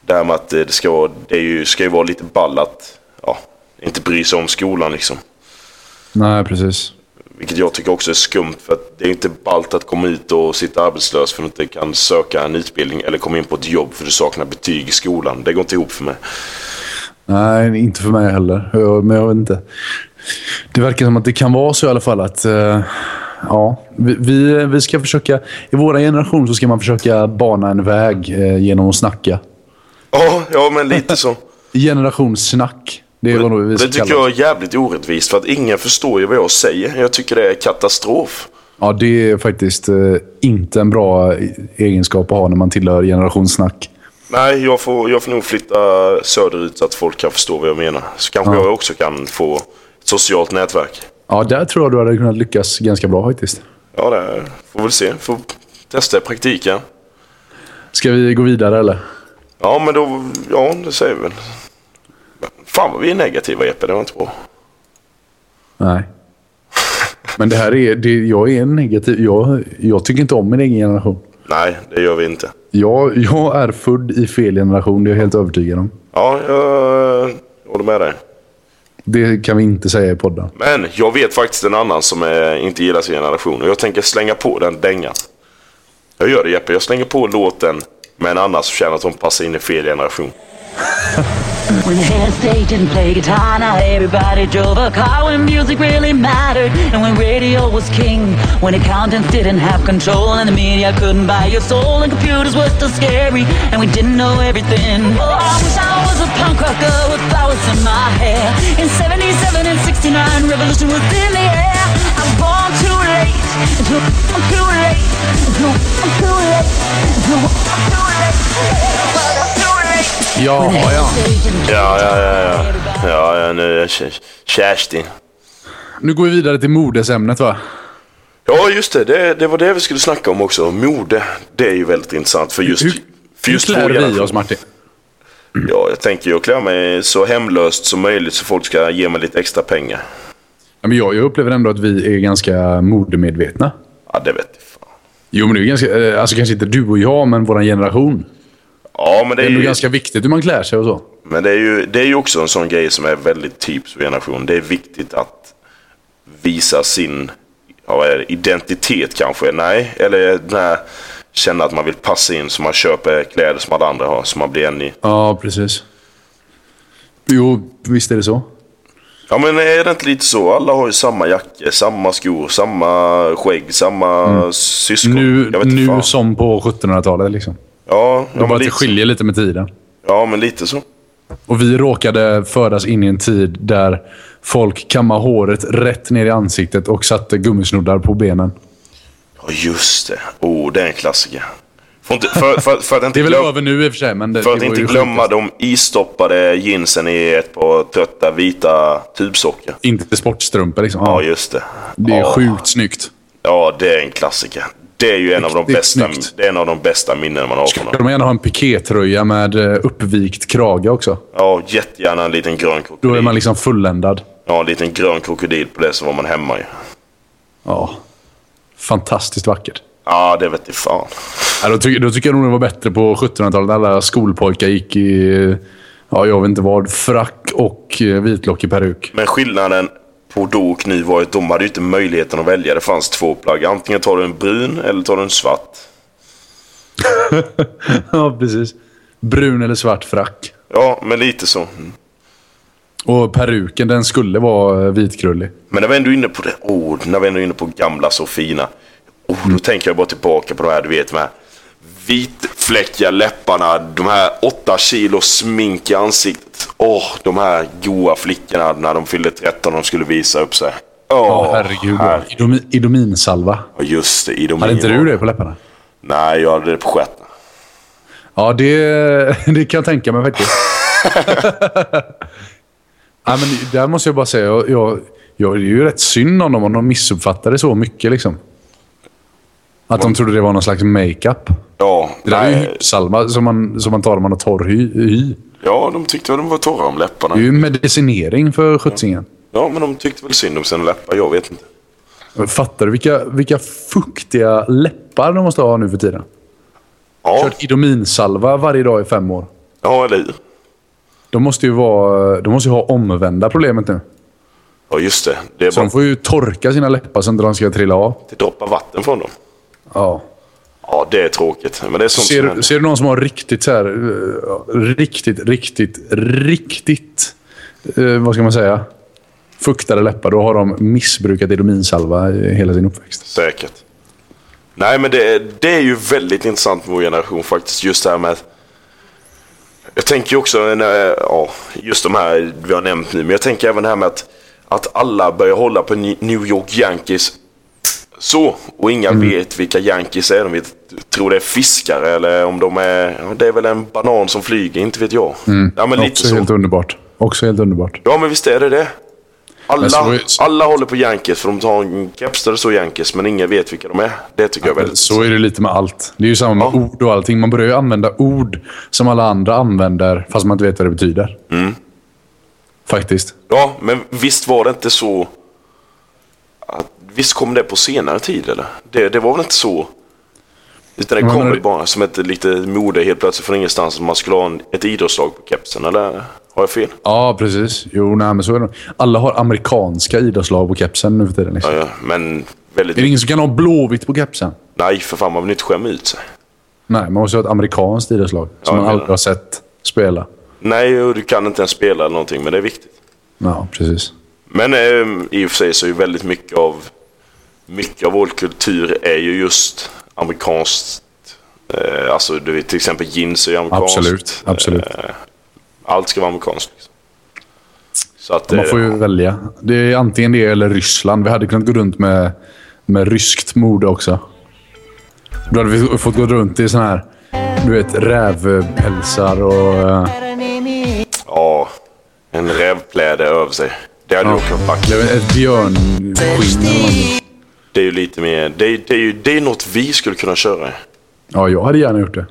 Speaker 1: det, här med att eh, det, ska, vara- det är ju, ska ju vara lite ball att ja, inte bry sig om skolan liksom.
Speaker 2: Nej, precis.
Speaker 1: Vilket jag tycker också är skumt för att det är inte ballt att komma ut och sitta arbetslös för att du inte kan söka en utbildning eller komma in på ett jobb för att du saknar betyg i skolan. Det går inte ihop för mig.
Speaker 2: Nej, inte för mig heller. Jag- Men jag vet inte. Det verkar som att det kan vara så i alla fall att... eh, ja, vi, vi, vi ska försöka... I vår generation så ska man försöka bana en väg eh, genom att snacka.
Speaker 1: Ja, ja men lite så.
Speaker 2: Generationssnack. Det är vad nog vi
Speaker 1: Det
Speaker 2: ska
Speaker 1: tycker
Speaker 2: kalla
Speaker 1: jag
Speaker 2: det.
Speaker 1: är jävligt orättvist för att ingen förstår ju vad jag säger. Jag tycker det är katastrof.
Speaker 2: Ja, det är faktiskt eh, inte en bra eh, egenskap att ha när man tillhör generationssnack.
Speaker 1: Nej, jag får, jag får nog flytta söderut så att folk kan förstå vad jag menar. Så kanske jag också kan få ett socialt nätverk.
Speaker 2: Ja, där tror jag du hade kunnat lyckas ganska bra faktiskt.
Speaker 1: Ja, det får väl se. Får testa i praktiken.
Speaker 2: Ska vi gå vidare eller?
Speaker 1: Ja, men då... Ja, det säger vi väl. Fan vad vi är negativa, Jeppe. Det var inte bra.
Speaker 2: Nej. Men det här är... Det, jag är negativ. Jag, jag tycker inte om min egen generation.
Speaker 1: Nej, det gör vi inte.
Speaker 2: Jag, jag är född i fel generation, det är jag helt övertygad om.
Speaker 1: Ja, jag håller med dig.
Speaker 2: Det kan vi inte säga i podden.
Speaker 1: Men jag vet faktiskt en annan som eh, inte gillar sin generation och jag tänker slänga på den dängan. Jag gör det Jeppe, jag slänger på låten med en annan som känner att hon passar in i fel generation.
Speaker 5: When the head stage didn't play guitar, now everybody drove a car when music really mattered and when radio was king. When accountants didn't have control and the media couldn't buy your soul and computers were still scary and we didn't know everything. Oh, I wish I was a punk rocker with flowers in my hair. In 77 and 69, revolution was in the air. I was born too late, too, too late, too, too late, too, too late, too late.
Speaker 2: Ja, ja.
Speaker 1: Ja, ja, ja, ja. Ja, ja, nu är Ke- Kerstin.
Speaker 2: Nu går vi vidare till modesämnet va?
Speaker 1: Ja, just det. det. Det var det vi skulle snacka om också. Mode. Det är ju väldigt intressant för just...
Speaker 2: Hur-
Speaker 1: för just
Speaker 2: Hur
Speaker 1: vår
Speaker 2: klär vi
Speaker 1: generation.
Speaker 2: oss Martin?
Speaker 1: Ja, jag tänker ju klä mig så hemlöst som möjligt så folk ska ge mig lite extra pengar.
Speaker 2: Ja, men jag, jag upplever ändå att vi är ganska modemedvetna.
Speaker 1: Ja, det vet jag fan.
Speaker 2: Jo, men det är ganska, eh, alltså kanske inte du och jag, men vår generation.
Speaker 1: Ja, men det
Speaker 2: Det
Speaker 1: är
Speaker 2: är ändå
Speaker 1: ju,
Speaker 2: ganska viktigt hur man klär sig och så.
Speaker 1: men det är ju, det är ju också en sån grej som är väldigt typisk för generation. Det är viktigt att visa sin ja, vad är det, identitet kanske. Nej, eller nej, känna att man vill passa in så man köper kläder som alla andra har. Så man blir en i.
Speaker 2: Ja, precis. Jo, visst är det så.
Speaker 1: Ja, men är det inte lite så? Alla har ju samma jacka, samma skor, samma skägg, samma syskon.
Speaker 2: Mm. Nu,
Speaker 1: jag vet inte
Speaker 2: nu
Speaker 1: fan.
Speaker 2: som på 1700-talet liksom.
Speaker 1: Ja,
Speaker 2: Det
Speaker 1: ja,
Speaker 2: är bara
Speaker 1: men
Speaker 2: att det
Speaker 1: lite,
Speaker 2: skiljer lite med tiden.
Speaker 1: ja, men lite så.
Speaker 2: Och vi råkade födas in i en tid där folk kammade håret rätt ner i ansiktet och satte gummisnoddar på benen.
Speaker 1: Ja, just det. Oh, det är en klassiker. Får inte, för, för, för att inte
Speaker 2: Det är väl
Speaker 1: glöm-
Speaker 2: över nu i och för sig, men det,
Speaker 1: För
Speaker 2: det
Speaker 1: att
Speaker 2: var
Speaker 1: inte
Speaker 2: ju
Speaker 1: glömma
Speaker 2: sjukast.
Speaker 1: de istoppade jeansen i ett par trötta vita tubsockor.
Speaker 2: Inte sportstrumpor liksom.
Speaker 1: Ja,
Speaker 2: Ja,
Speaker 1: just det.
Speaker 2: det är
Speaker 1: ja.
Speaker 2: sjukt snyggt.
Speaker 1: Ja, det är en klassiker. Det är ju en av de
Speaker 2: Riktigt
Speaker 1: bästa,
Speaker 2: snyggt.
Speaker 1: det är en av de bästa minnen man har från
Speaker 2: Ska
Speaker 1: honom.
Speaker 2: man gärna ha en pikétröja med eh, uppvikt krage också.
Speaker 1: Ja, jättegärna en liten grön
Speaker 2: Då är
Speaker 1: krokodil.
Speaker 2: man liksom fulländad.
Speaker 1: Ja, en liten grön krokodil på det så var man hemma ju.
Speaker 2: Ja. Fantastiskt vackert.
Speaker 1: Ja, det vet jag fan.
Speaker 2: Ja, då, ty- då tycker jag nog det var bättre på 1700-talet. Alla skolpojkar gick i, eh, ja, jag vet inte vad, frack och eh, vitlockig peruk.
Speaker 1: Men skillnaden på då och nu var ju att de hade ju inte möjligheten att välja. Det fanns två plagg. Antingen tar du en brun eller tar du en svart.
Speaker 2: Ja, precis. Brun eller svart frack.
Speaker 1: Ja, men lite så.
Speaker 2: Och peruken, den skulle vara eh, vitkrullig.
Speaker 1: Men när vi ändå är inne på det, oh, när vi ändå är inne på gamla så fina. Oh,
Speaker 2: Mm.
Speaker 1: då tänker jag bara tillbaka på de här, du vet, de här vitfläckiga läpparna, de här åtta kilo smink i ansiktet. Åh, de här goa flickorna när de fyllde 13 och de skulle visa upp sig. Åh,
Speaker 2: Ja, herregud.
Speaker 1: herre-
Speaker 2: Idomi- idominsalva.
Speaker 1: Ja, Just det, i de
Speaker 2: Hade inte du det på läpparna?
Speaker 1: Nej, jag hade det på stjärten.
Speaker 2: Ja, det, det kan jag tänka mig faktiskt. Nej, men där måste jag bara säga, jag, jag, jag det är ju rätt synd om dem om de missuppfattade så mycket. Liksom. Att de trodde det var någon slags makeup.
Speaker 1: Ja,
Speaker 2: Det där är ju
Speaker 1: nej,
Speaker 2: hypsalva som man, som man tar om man har torr hy. hy.
Speaker 1: ja, de tyckte väl de var torra om läpparna.
Speaker 2: Det är ju medicinering för sjuttsingen.
Speaker 1: Ja, men de tyckte väl synd om sina läppar, jag vet inte.
Speaker 2: Fattar du vilka, vilka fuktiga läppar de måste ha nu för tiden?
Speaker 1: Ja,
Speaker 2: Kört idominsalva varje dag i fem år.
Speaker 1: ja eller hur?
Speaker 2: De måste ju, vara, de måste ju ha omvända problemet nu.
Speaker 1: Ja, just det. Det är
Speaker 2: Så
Speaker 1: bara
Speaker 2: de får ju torka sina läppar så inte de ska trilla av.
Speaker 1: att droppa vatten från dem.
Speaker 2: Ja.
Speaker 1: Ja, det är tråkigt. Men det är sånt
Speaker 2: Ser,
Speaker 1: som
Speaker 2: du- ser du någon som har riktigt så här... eh, Riktigt, riktigt, riktigt... Eh, vad ska man säga? Fuktade läppar. Då har de missbrukat idominsalva i hela sin uppväxt.
Speaker 1: Säkert. Nej, men det, det är ju väldigt intressant med vår generation faktiskt. Just det här med... att- Jag tänker ju också, när, ja, just de här vi har nämnt nu, men jag tänker även det här med att, att alla börjar hålla på Ni- New York Yankees så, och inga
Speaker 2: Mm.
Speaker 1: vet vilka Yankees är. De vet, tror det är fiskare eller om de är... Ja, det är väl en banan som flyger, inte vet jag.
Speaker 2: Mm,
Speaker 1: Ja, men lite
Speaker 2: Också
Speaker 1: så.
Speaker 2: helt underbart. Också helt underbart.
Speaker 1: Ja, men visst är det det. Alla,
Speaker 2: Men så var ju-
Speaker 1: alla håller på Yankees för de tar en keps där det står Yankees men ingen vet vilka de är. Det tycker jag är väldigt...
Speaker 2: Så är det lite med allt. Det är ju samma med
Speaker 1: Ja.
Speaker 2: ord och allting. Man börjar ju använda ord som alla andra använder fast man inte vet vad det betyder.
Speaker 1: Mm.
Speaker 2: Faktiskt.
Speaker 1: Ja, men visst var det inte så... Att, visst kom det på senare tid eller? Det, det var väl inte så... Utan det
Speaker 2: Men
Speaker 1: kommer
Speaker 2: menar
Speaker 1: ju
Speaker 2: du-
Speaker 1: bara som ett lite mode helt plötsligt från ingenstans att man skulle ha en, ett idrottslag på kepsen, eller har jag fel?
Speaker 2: Ja, precis. Jo, nej, men så är det nog. Alla har amerikanska idrottslag på kepsen nu för tiden. Liksom.
Speaker 1: Ja, ja, men väldigt...
Speaker 2: Är det ingen som kan ha blåvitt på kepsen?
Speaker 1: Nej, för fan man vill inte skämma ut sig.
Speaker 2: Nej, man måste ha ett amerikanskt idrottslag
Speaker 1: Ja,
Speaker 2: som
Speaker 1: jag
Speaker 2: man
Speaker 1: menar
Speaker 2: aldrig
Speaker 1: det.
Speaker 2: har sett spela.
Speaker 1: Nej, och du kan inte ens spela eller någonting, men det är viktigt.
Speaker 2: Ja, precis.
Speaker 1: Men eh, i och för sig så är ju väldigt mycket av mycket av vår kultur är ju just amerikanskt. Eh, alltså du vet, till exempel jeans är ju amerikanskt. Eh,
Speaker 2: Absolut. absolut.
Speaker 1: Allt ska vara amerikanskt. Liksom. Så att, eh,
Speaker 2: Man får ju välja. Det är antingen det eller Ryssland. Vi hade kunnat gå runt med, med ryskt mode också. Då hade vi fått gå runt i sån här, du vet, rävpälsar och... eh,
Speaker 1: Ja, en rävpläde över sig. Det hade ju också varit
Speaker 2: eller Ett björnskinn eller någonting.
Speaker 1: Det är ju lite mer... Det är, det är ju det är något vi skulle kunna köra.
Speaker 2: Ja, jag hade gärna gjort det.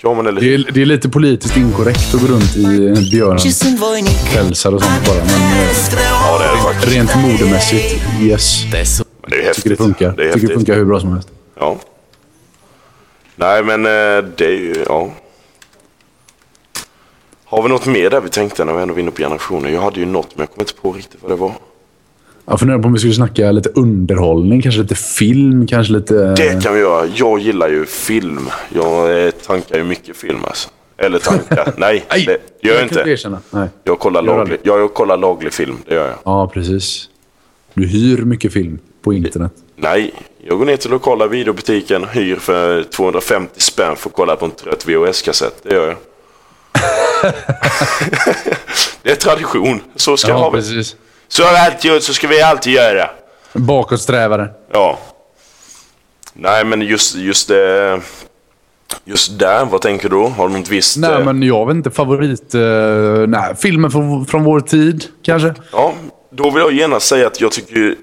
Speaker 1: Ja, men eller
Speaker 2: Det
Speaker 1: hur?
Speaker 2: är, det är lite politiskt inkorrekt att gå runt i björnpälsar och sånt bara, men eh,
Speaker 1: Ja, det är det faktiskt.
Speaker 2: rent modemässigt, yes.
Speaker 4: Dessutom
Speaker 1: Men det är ju
Speaker 2: Tycker det
Speaker 1: häftigt.
Speaker 2: funkar.
Speaker 1: Det är
Speaker 2: Tycker det
Speaker 1: häftigt.
Speaker 2: funkar hur bra som helst.
Speaker 1: Ja. Nej, men eh, det är ju... Ja. Har vi något mer där vi tänkte när vi ändå var inne på generationer? Jag hade ju något, men jag kommer inte på riktigt vad det var.
Speaker 2: Jag funderar på om vi skulle snacka lite underhållning, kanske lite film, kanske lite... eh,
Speaker 1: Det kan vi göra. Jag gillar ju film. Jag eh, tankar ju mycket film alltså. Eller tankar. Nej,
Speaker 2: Nej,
Speaker 1: det gör jag
Speaker 2: kan inte
Speaker 1: inte.
Speaker 2: erkänna. Nej.
Speaker 1: Jag kollar,
Speaker 2: Gör
Speaker 1: laglig, ja, jag kollar laglig film, det gör jag.
Speaker 2: Ja, precis. Du hyr mycket film på internet.
Speaker 1: Nej, jag går ner till lokala videobutiken, hyr för 250 spänn för att kolla på en trött VHS-kassett. Det gör jag. det är tradition. Så ska ja, vi.
Speaker 2: precis.
Speaker 1: Så har vi alltid gjort, så ska vi alltid göra.
Speaker 2: Bakåtsträvare.
Speaker 1: Ja. Nej, men just, just det... Just där, vad tänker du då? Har du något visst... eh,
Speaker 2: Nej, men jag vet inte. Favorit... eh, nej, filmen från, från vår tid, kanske?
Speaker 1: Ja, då vill jag genast säga att jag tycker ju-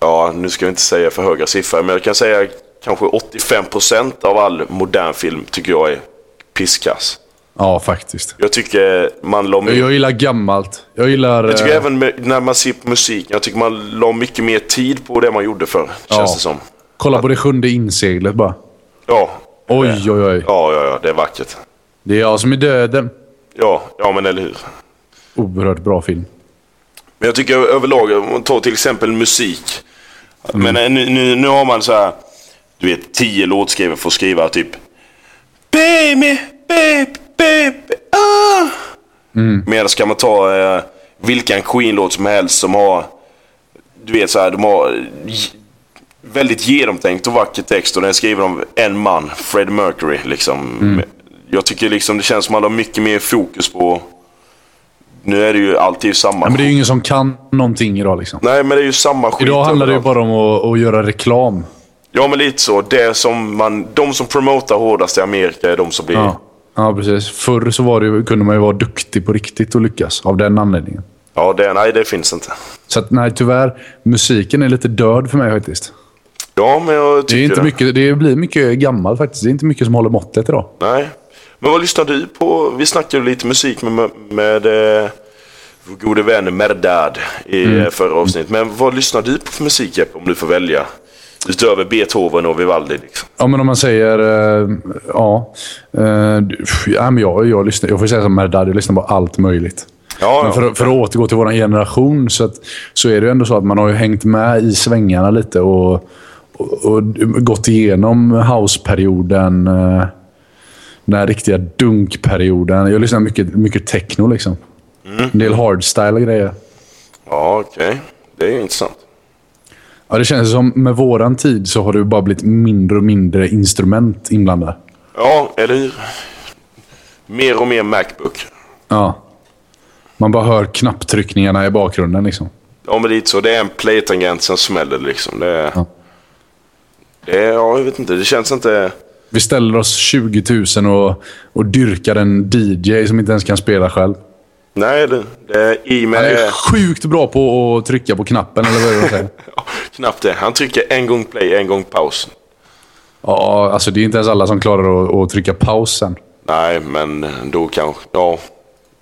Speaker 1: Ja, nu ska vi inte säga för höga siffror, men jag kan säga kanske 85% av all modern film tycker jag är pisskass.
Speaker 2: Ja, faktiskt.
Speaker 1: Jag tycker man la mer...
Speaker 2: Jag gillar gammalt. Jag gillar...
Speaker 1: Jag tycker
Speaker 2: eh,
Speaker 1: även med, när man ser på musik, jag tycker man la mycket mer tid på det man gjorde förr, känns det som.
Speaker 2: Kolla på det sjunde inseglet bara.
Speaker 1: Ja.
Speaker 2: Oj, oj, oj.
Speaker 1: ja, ja, ja, det är vackert.
Speaker 2: Det är jag som är döden.
Speaker 1: Ja, ja men eller hur.
Speaker 2: Oerhört bra film.
Speaker 1: Men jag tycker överlag, om man tar till exempel musik.
Speaker 2: Mm.
Speaker 1: Men eh, nu, nu, nu har man så här, du vet, tio låtskrivare får skriva typ Baby, baby, baby, ah.
Speaker 2: Mm.
Speaker 1: Medan kan man ta eh, vilken Queen-låt som helst som har, du vet så här, de har eh, j- väldigt genomtänkt och vacker text och den är skriven av en man, Fred Mercury liksom.
Speaker 2: Mm.
Speaker 1: Jag tycker liksom det känns som att man har mycket mer fokus på, nu är det ju alltid samma.
Speaker 2: Men det är ju ingen som kan någonting idag liksom.
Speaker 1: Nej, men det är ju samma skit.
Speaker 2: Idag handlar det ju
Speaker 1: överallt.
Speaker 2: bara om att, att göra reklam.
Speaker 1: Ja, men lite så. Det som man, de som promotar hårdast i Amerika är de som blir...
Speaker 2: Ja,
Speaker 1: Ja,
Speaker 2: ja precis. Förr så var det, ju- kunde man ju vara duktig på riktigt och lyckas av den anledningen.
Speaker 1: det, nej, det finns inte.
Speaker 2: Så att, nej, tyvärr. Musiken är lite död för mig faktiskt.
Speaker 1: Ja, men jag tycker
Speaker 2: Det, är inte mycket, det blir mycket gammalt faktiskt. Det är inte mycket som håller måttet idag.
Speaker 1: Nej. Men vad lyssnar du på? Vi snackade ju lite musik med, med, eh, vår gode vän Merdad i
Speaker 2: Mm.
Speaker 1: eh, förra avsnittet. Men vad lyssnar du på för musik, Jeppe, om du får välja? Utöver Beethoven och Vivaldi. Liksom.
Speaker 2: Ja, men om man säger... eh, ja. eh, du- pff, ja, men jag, jag, lyssnar, jag får säga som Merdad, jag lyssnar på allt möjligt.
Speaker 1: Ja,
Speaker 2: men
Speaker 1: ja.
Speaker 2: för, att- för att återgå till vår generation så, att, så är det ju ändå så att man har ju hängt med i svängarna lite och, och, och gått igenom houseperioden. eh, Den här riktiga dunkperioden. Jag lyssnar mycket, mycket techno liksom.
Speaker 1: Mm.
Speaker 2: En del hardstyle och grejer.
Speaker 1: Ja, okej. Det är ju intressant.
Speaker 2: Ja, det känns som med våran tid så har det ju bara blivit mindre och mindre instrument inblandade.
Speaker 1: Ja, eller hur? Mer och mer Macbook.
Speaker 2: Ja. Man bara hör knapptryckningarna i bakgrunden liksom.
Speaker 1: Ja men lite så. Det är en playtangent, sen smäller det liksom. Det,
Speaker 2: Ja.
Speaker 1: det är, ja, jag vet inte. Det känns inte...
Speaker 2: Vi ställer oss 20 000 och, och dyrkar en DJ som inte ens kan spela själv.
Speaker 1: Nej, det, det är i
Speaker 2: Han
Speaker 1: med...
Speaker 2: är sjukt bra på att trycka på knappen, eller vad är det de säger?
Speaker 1: Ja, knappt det. Han trycker en gång play, en gång paus.
Speaker 2: Ja, alltså det är inte ens alla som klarar att, att trycka paus sen.
Speaker 1: Nej, men då kanske... Ja,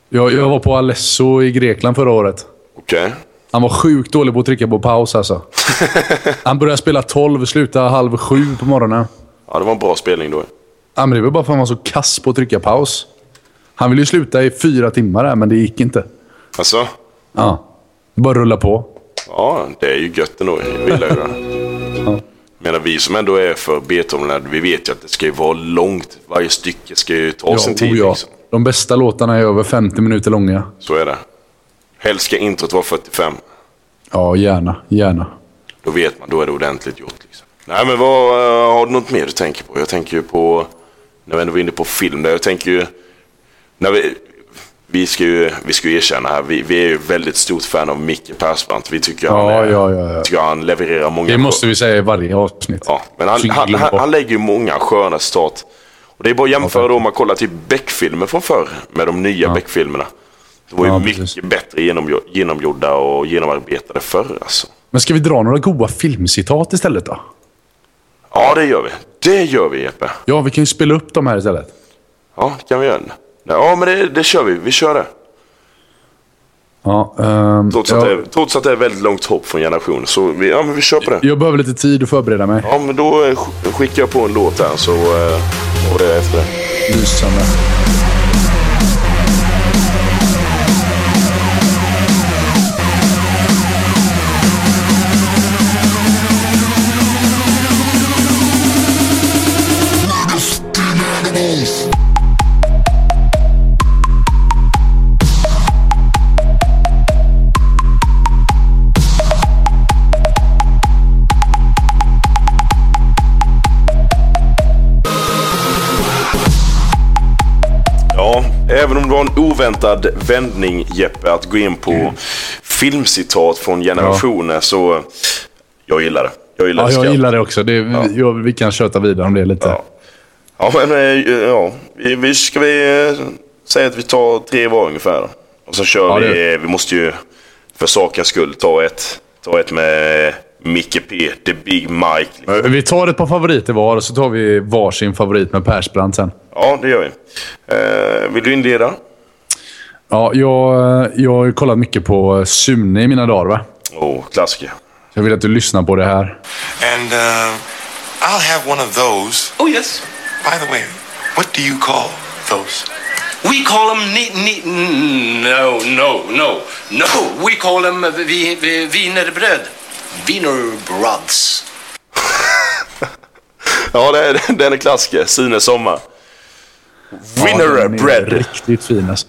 Speaker 2: Jag, jag var på Alesso i Grekland förra året.
Speaker 1: okej.
Speaker 2: Han var sjukt dålig på att trycka på paus alltså. Han började spela 12, slutade halv sju på morgonen.
Speaker 1: Ja, det var en bra spelning då.
Speaker 2: Ja, men det var bara för att han var så kass på att trycka paus. Han ville ju sluta i fyra timmar där, men det gick inte.
Speaker 1: Alltså?
Speaker 2: Ja. Det bara rulla på.
Speaker 1: Ja, det är ju gött ändå. Jag gillar ju det. Medan vi som ändå är för Beethoven, vi vet ju att det ska ju vara långt. Varje stycke ska ju ta sin tid.
Speaker 2: oh ja.
Speaker 1: Liksom.
Speaker 2: De bästa låtarna är över 50 minuter långa.
Speaker 1: Så är det. Helst ska introt vara 45.
Speaker 2: Ja, gärna. Gärna.
Speaker 1: Då vet man, då är det ordentligt gjort. Liksom. Nej men vad, eh, har du något mer du tänker på? Jag tänker ju på, när vi ändå var inne på film, där jag tänker ju, när vi, vi ska ju, vi ska ju erkänna här, vi, vi är ju väldigt stort fan av Micke Persbrandt. Vi tycker han,
Speaker 2: Ja,
Speaker 1: är-
Speaker 2: ja, ja, ja.
Speaker 1: tycker han levererar många
Speaker 2: Det måste vi säga i varje avsnitt.
Speaker 1: Ja, men han,
Speaker 2: Så
Speaker 1: han,
Speaker 2: glöm
Speaker 1: han,
Speaker 2: bort.
Speaker 1: han lägger ju många sköna citat. Och det är bara att jämföra då om man kollar till Beck-filmer från förr med de nya Beck-filmerna. Det var ju
Speaker 2: Ja,
Speaker 1: mycket
Speaker 2: precis.
Speaker 1: bättre genomgjo- genomgjorda och genomarbetade förr alltså.
Speaker 2: Men ska vi dra några goa filmcitat istället då?
Speaker 1: Ja, det gör vi. Det gör vi Jeppe.
Speaker 2: Ja, vi kan ju spela upp dem här istället.
Speaker 1: Ja, det kan vi göra. Ja, men det, det kör vi. Vi kör det.
Speaker 2: Ja, ehm,
Speaker 1: Trots, att det är, trots att det är väldigt långt hopp från generationen. Så vi, ja, men vi kör på det.
Speaker 2: Jag behöver lite tid att förbereda mig.
Speaker 1: Ja, men då eh, sk- skickar jag på en låt här så eh, och det är efter det.
Speaker 2: Lysande.
Speaker 1: Ja, även om det var en oväntad vändning Jeppe att gå in på
Speaker 2: Mm.
Speaker 1: filmcitat från generationer så eh, jag gillar det. Jag gillar
Speaker 2: Ja,
Speaker 1: det
Speaker 2: jag
Speaker 1: skarpt.
Speaker 2: gillar det också. Det, jag, vi kan köta vidare om det lite.
Speaker 1: Ja. Ja, men eh, ja. Vi- Vi, ska vi eh, säga att vi tar tre var ungefär. då? Och så kör
Speaker 2: Ja, det
Speaker 1: vi. Vi måste ju för sakens skull ta ett, ta ett med Micke P, The Big Mike.
Speaker 2: Vi tar ett par favoriter var och så tar vi varsin favorit med Persbrandt sen.
Speaker 1: Ja, det gör vi. Eh, vill du inleda?
Speaker 2: Ja, jag, eh, jag har ju kollat mycket på Sune i mina dagar. Va?
Speaker 1: Åh, klassiker.
Speaker 2: Jag vill att du lyssnar på det här.
Speaker 6: And uh, I'll have one of those.
Speaker 7: Oh, yes.
Speaker 6: By the way, what do you call those?
Speaker 7: We call them ni- ni- no, no, no, no. We call them vi- vi- wienerbröd. Wienerbrods.
Speaker 1: Ja, det är, den är klassiker. Sune Sommar. Winner
Speaker 2: ja, den är
Speaker 1: bread.
Speaker 2: Riktigt fin alltså.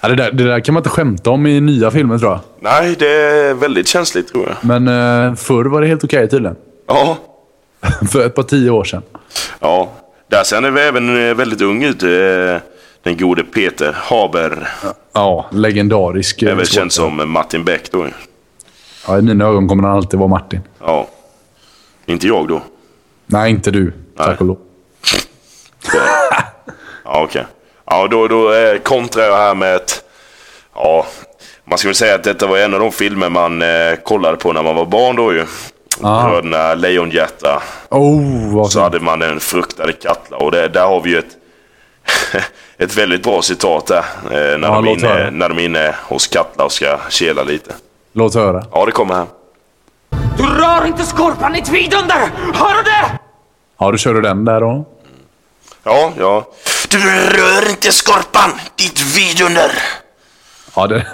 Speaker 2: ja, det, där, det där kan man inte skämta om i nya filmer tror jag.
Speaker 1: Nej, det är väldigt känsligt tror jag.
Speaker 2: Men eh, förr var det helt okej tydligen.
Speaker 1: Ja.
Speaker 2: För ett par tio år sedan.
Speaker 1: Ja. Där ser han även eh, väldigt ung ut. eh, Den gode Peter Haber.
Speaker 2: Ja, legendarisk. eh,
Speaker 1: Även känd
Speaker 2: skådespelare.
Speaker 1: som Martin Beck då.
Speaker 2: Ja, I mina ögon kommer han alltid vara Martin.
Speaker 1: Ja. Inte jag då.
Speaker 2: Nej, inte du. Tack och lov.
Speaker 1: Ja, okej. Ja, då, då eh, kontrar jag här med ett... Ja, man skulle säga att detta var en av de filmer man eh, kollade på när man var barn då ju.
Speaker 2: Ah.
Speaker 1: Bröderna Lejonhjärta.
Speaker 2: Oh, vad
Speaker 1: Så hade man den fruktade Katla och det, där har vi ju ett, ett väldigt bra citat där. eh, När,
Speaker 2: Ja,
Speaker 1: de är
Speaker 2: låt
Speaker 1: inne,
Speaker 2: höra.
Speaker 1: när de är inne hos Katla och ska kela lite.
Speaker 2: Låt höra.
Speaker 1: Ja, det kommer här.
Speaker 8: Du rör inte skorpan i tvidunder! Hör du det?
Speaker 2: Ja, då kör du den där då.
Speaker 1: Ja, ja.
Speaker 4: Du rör inte skorpan, ditt vidunder!
Speaker 2: Ja, det...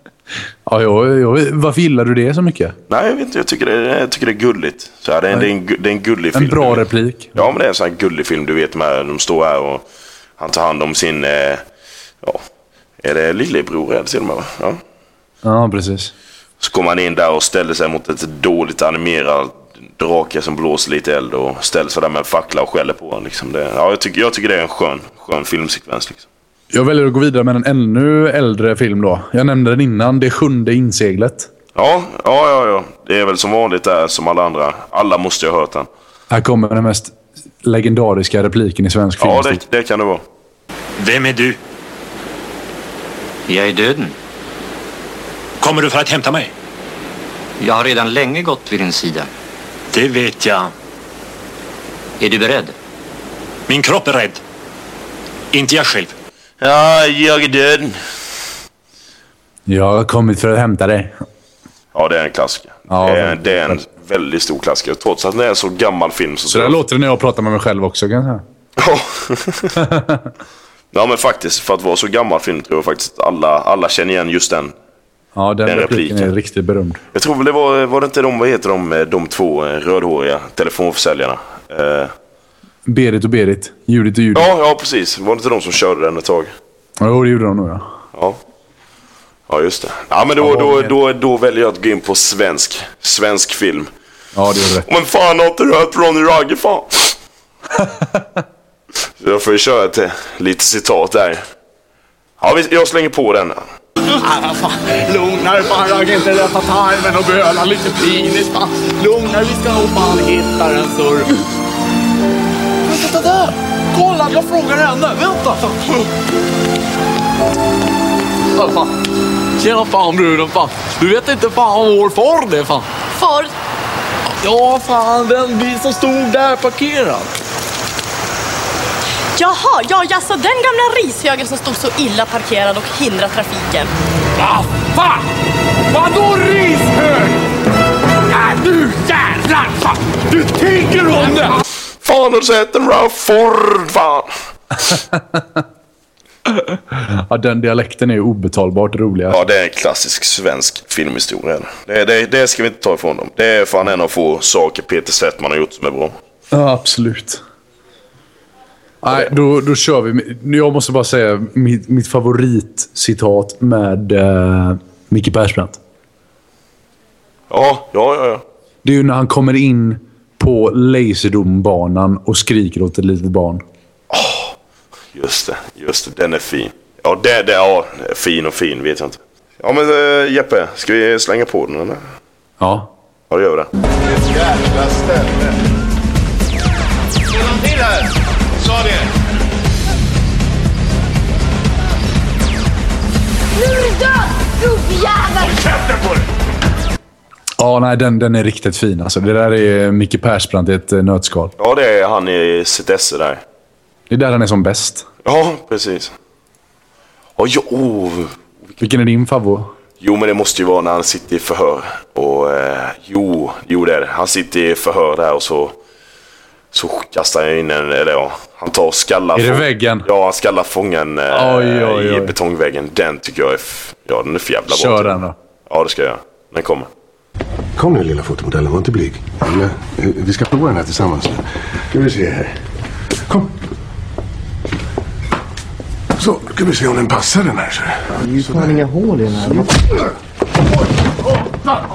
Speaker 2: ja, jag, jag, varför gillar du det så mycket?
Speaker 1: Nej, jag vet inte. Jag tycker det, jag tycker det är gulligt. Så här, det, är, det, är en, gu- det är en gullig
Speaker 2: En
Speaker 1: film.
Speaker 2: bra replik.
Speaker 1: Ja, men det är en sån här gullig film. Du vet, med, de står här och han tar hand om sin... Eh, ja, är det lillebror är det till och med? va? Ja.
Speaker 2: Ja, precis.
Speaker 1: Så kommer han in där och ställer sig mot ett dåligt animerat drake som blåser lite eld och ställer sig där med en fackla och skäller på honom. Liksom det, ja, jag, tycker, jag tycker det är en skön, skön filmsekvens. Liksom.
Speaker 2: Jag väljer att gå vidare med en ännu äldre film då. Jag nämnde den innan. Det sjunde inseglet.
Speaker 1: Ja, ja, ja, ja. Det är väl som vanligt där som alla andra. Alla måste ju ha hört den.
Speaker 2: Här kommer den mest legendariska repliken i svensk film.
Speaker 1: Ja, det, det kan det vara.
Speaker 9: Vem är du?
Speaker 7: Jag är döden.
Speaker 9: Kommer du för att hämta mig?
Speaker 7: Jag har redan länge gått vid din sida.
Speaker 9: Det vet jag.
Speaker 7: Är du beredd?
Speaker 9: Min kropp är rädd. Inte jag själv.
Speaker 1: Ja, jag är död.
Speaker 2: Jag har kommit för att hämta dig.
Speaker 1: Ja, det är en klassiker.
Speaker 2: Ja,
Speaker 1: det, är,
Speaker 2: verkligen.
Speaker 1: det är en väldigt stor klassiker. Trots att den är en så gammal film så...
Speaker 2: Så där låter det när jag pratar med mig själv också. kan jag säga.
Speaker 1: Ja. ja men faktiskt, för att vara så gammal film tror jag faktiskt att alla, alla känner igen just den.
Speaker 2: Ja, den,
Speaker 1: Den
Speaker 2: repliken
Speaker 1: repliken.
Speaker 2: är riktigt berömd.
Speaker 1: Jag tror väl det var, var det inte de, vad heter de, de två eh, rödhåriga telefonförsäljarna? Eh,
Speaker 2: Berit och Berit. Judit och Judit.
Speaker 1: ja, ja precis. Var det inte de som körde den ett tag?
Speaker 2: Jo, det gjorde de nog ja.
Speaker 1: Ja. Ja, just det. Ja, men då, då, då, då väljer jag att gå in på svensk. Svensk film.
Speaker 2: Ja, det gjorde rätt.
Speaker 1: Men fan, har inte du hört Ronny Ragge fan? Så jag får ju köra ett, eh, lite citat där. Ja, vi- jag slänger på den.
Speaker 10: Äh, Lugna dig fan, ragga inte rätta tarmen och böla lite pinigt fan. Lugna dig, vi ska nog fan hitta den surr. Men titta där! Kolla, jag frågar henne. Vänta! Ja, fan. Tjena fan bruden fan. Du vet inte fan vad vår far det är fan.
Speaker 11: Ford,
Speaker 10: Ja fan, den bil som stod där parkerad.
Speaker 11: jaha, ja jaså den gamla rishögen som stod så illa parkerad och hindrade trafiken.
Speaker 10: Va Ah, fan! Vadå rishög? Ja, nu jävlar fan! Du tänker om det!
Speaker 1: Fan, har du sett en Ralph Ford fan?
Speaker 2: ja. Den dialekten är ju obetalbart rolig.
Speaker 1: Ja, det är en klassisk svensk filmhistoria. Det, det, det ska vi inte ta ifrån dem. Det är fan en av få saker Peter Settman har gjort som är bra.
Speaker 2: Ja, absolut. Nej, då, då kör vi. Jag måste bara säga mitt, mitt favoritcitat med eh, Micke Persbrandt.
Speaker 1: Ja, ja, ja. ja.
Speaker 2: Det är ju när han kommer in på Laserdombanan och skriker åt ett litet barn.
Speaker 1: Just det, just det. Den är fin. Ja, det, det, ja, fin och fin vet jag inte. Ja, men eh, Jeppe, ska vi slänga på den eller?
Speaker 2: Ja.
Speaker 1: Ja, det gör vi det.
Speaker 3: Jävla ställe. Ser någon till här? Sa det.
Speaker 12: Nu är du död, gubbjävel!
Speaker 2: Ja, nej, den, den är riktigt fin. Alltså, det där är Micke Persbrandt i ett eh, nötskal.
Speaker 1: Ja, det är han i sitt esse där.
Speaker 2: Det är där han är som bäst.
Speaker 1: Ja, precis. Ja, jo, oh.
Speaker 2: Vilken är din favvo?
Speaker 1: jo, men det måste ju vara när han sitter i förhör. Och eh, jo, jo det är det. Han sitter i förhör där och så, så kastar han in en, eller ja, han tar och skallar.
Speaker 2: Är det
Speaker 1: fång-
Speaker 2: väggen?
Speaker 1: Ja, han skallar fången eh,
Speaker 2: Oj, oj, oj.
Speaker 1: i betongväggen. Den tycker jag är, f- ja den är för jävla bra.
Speaker 2: Kör den då.
Speaker 1: Ja, det ska jag göra. Den kommer.
Speaker 13: Kom nu lilla fotomodellen, var inte blyg. Eller, eh, Vi ska prova den här tillsammans nu. Ska vi se här. Kom. Så, ska vi se om den passar den här. Så.
Speaker 14: Det är ju fan inga hål i den här.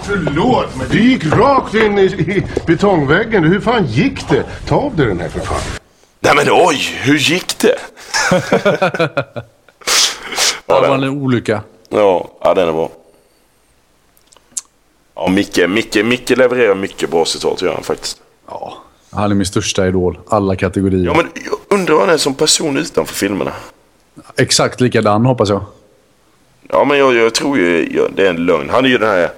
Speaker 13: Förlåt mig, du gick rakt in i, i betongväggen. Hur fan gick det? Ta av dig den här för fan.
Speaker 1: Nej men oj, hur gick det?
Speaker 2: Ja, det var en olycka.
Speaker 1: Ja, ja den är bra. Ja, Micke, Micke, Micke levererar mycket bra citat, gör han faktiskt.
Speaker 2: Ja. Han är min största idol. Alla kategorier.
Speaker 1: Ja, men jag undrar vad han är som person utanför filmerna.
Speaker 2: Exakt likadan hoppas jag.
Speaker 1: Ja, men jag, jag tror ju jag, det är en lögn. Han är ju den här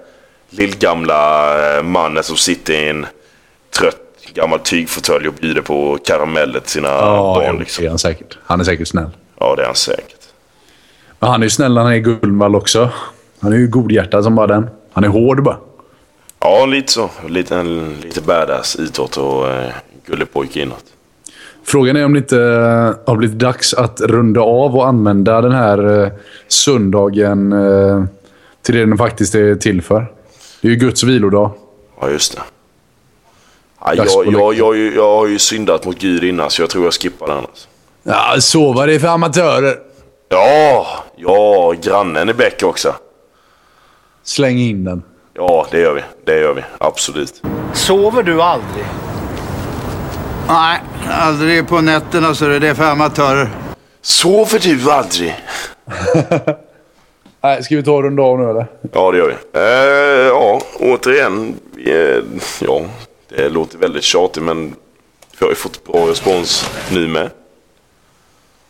Speaker 1: lillgamla eh, mannen som sitter i en trött gammal tygfåtölj och bjuder på karameller till sina barn. liksom.
Speaker 2: jo, det är han säkert. Han är säkert snäll.
Speaker 1: Ja, det är han säkert.
Speaker 2: Men han är ju snäll när han är i Guldvall också. Han är ju godhjärtad som bara den. Han är hård bara.
Speaker 1: Ja, lite så. Lite, en, lite badass utåt och eh, gullig pojke inåt.
Speaker 2: Frågan är om det inte eh, har blivit dags att runda av och använda den här eh, söndagen eh, till det den faktiskt är till för. Det är ju Guds vilodag.
Speaker 1: Ja, just det. Ja,
Speaker 2: Dags
Speaker 1: jag,
Speaker 2: på
Speaker 1: jag,
Speaker 2: läktaren.
Speaker 1: jag, har ju- jag har ju syndat mot Gud innan, så jag tror jag skippar den. Alltså.
Speaker 2: Ja, sova det är för amatörer.
Speaker 1: Ja, ja, grannen i bäck också.
Speaker 2: Släng in den.
Speaker 1: Ja, det gör vi. Det gör vi. Absolut.
Speaker 15: Sover du aldrig? Nej, aldrig på nätterna så det är för amatörer.
Speaker 1: Sover du aldrig?
Speaker 2: Nej, ska vi ta och runda av nu eller?
Speaker 1: Ja, det gör vi. Eh, ja, återigen. Eh, ja, det låter väldigt tjatigt, men vi har ju fått bra respons nu med.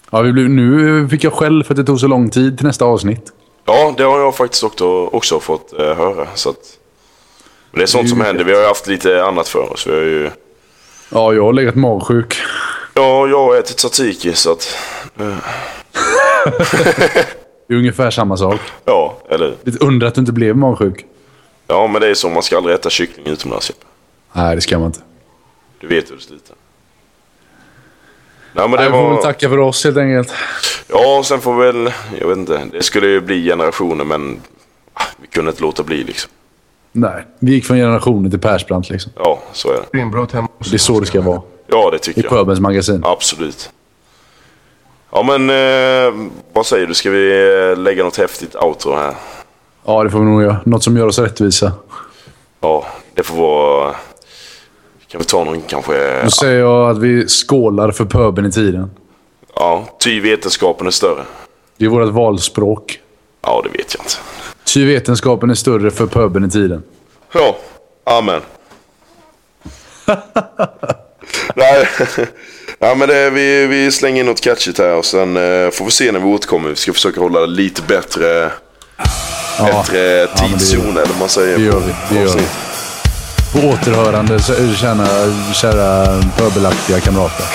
Speaker 2: Ja, vi blev, nu fick jag skäll för att det tog så lång tid till nästa avsnitt.
Speaker 1: Ja, det har jag faktiskt också, också fått eh, höra. Så att, men det är sånt som händer. Vi har ju haft lite annat för oss. Vi har ju...
Speaker 2: Ja, jag har legat magsjuk.
Speaker 1: Ja, jag har ätit tzatziki så att... eh,
Speaker 2: Det är ungefär samma sak.
Speaker 1: Ja, eller
Speaker 2: Lite undrar att du inte blev magsjuk.
Speaker 1: Ja, men det är så. Man ska aldrig äta kyckling utomlands. Jeppe.
Speaker 2: Nej, det ska man inte.
Speaker 1: Du vet hur det slutar. Nej, men
Speaker 2: Nej,
Speaker 1: det
Speaker 2: vi får
Speaker 1: var...
Speaker 2: väl tacka för oss helt enkelt.
Speaker 1: Ja, och sen får väl... Jag vet inte. Det skulle ju bli generationer, men ah, vi kunde inte låta bli liksom.
Speaker 2: Nej, vi gick från generationer till Persbrandt liksom.
Speaker 1: Ja, så är det.
Speaker 13: Inbrott hemma
Speaker 2: Det är så det ska vara.
Speaker 1: Ja, det tycker
Speaker 2: I
Speaker 1: jag.
Speaker 2: Sjöbergs magasin.
Speaker 1: Absolut. Ja, men eh, vad säger du? Ska vi eh, lägga något häftigt outro här?
Speaker 2: Ja, det får vi nog göra. Något som gör oss rättvisa.
Speaker 1: Ja, det får vara... Kan vi ta någon kanske...
Speaker 2: Då säger jag att vi skålar för pöben i tiden.
Speaker 1: Ja, ty vetenskapen är större.
Speaker 2: Det är vårt valspråk.
Speaker 1: Ja, det vet jag inte.
Speaker 2: Ty vetenskapen är större för pöben i tiden.
Speaker 1: Ja, amen. Nej, ja, men det, vi, vi slänger in något catchigt här och sen eh, får vi se när vi återkommer. Vi ska försöka hålla lite bättre, bättre tidszon eller vad man säger.
Speaker 2: Det gör vi. Det gör vi. På återhörande, så- kära, kära pöbelaktiga kamrater.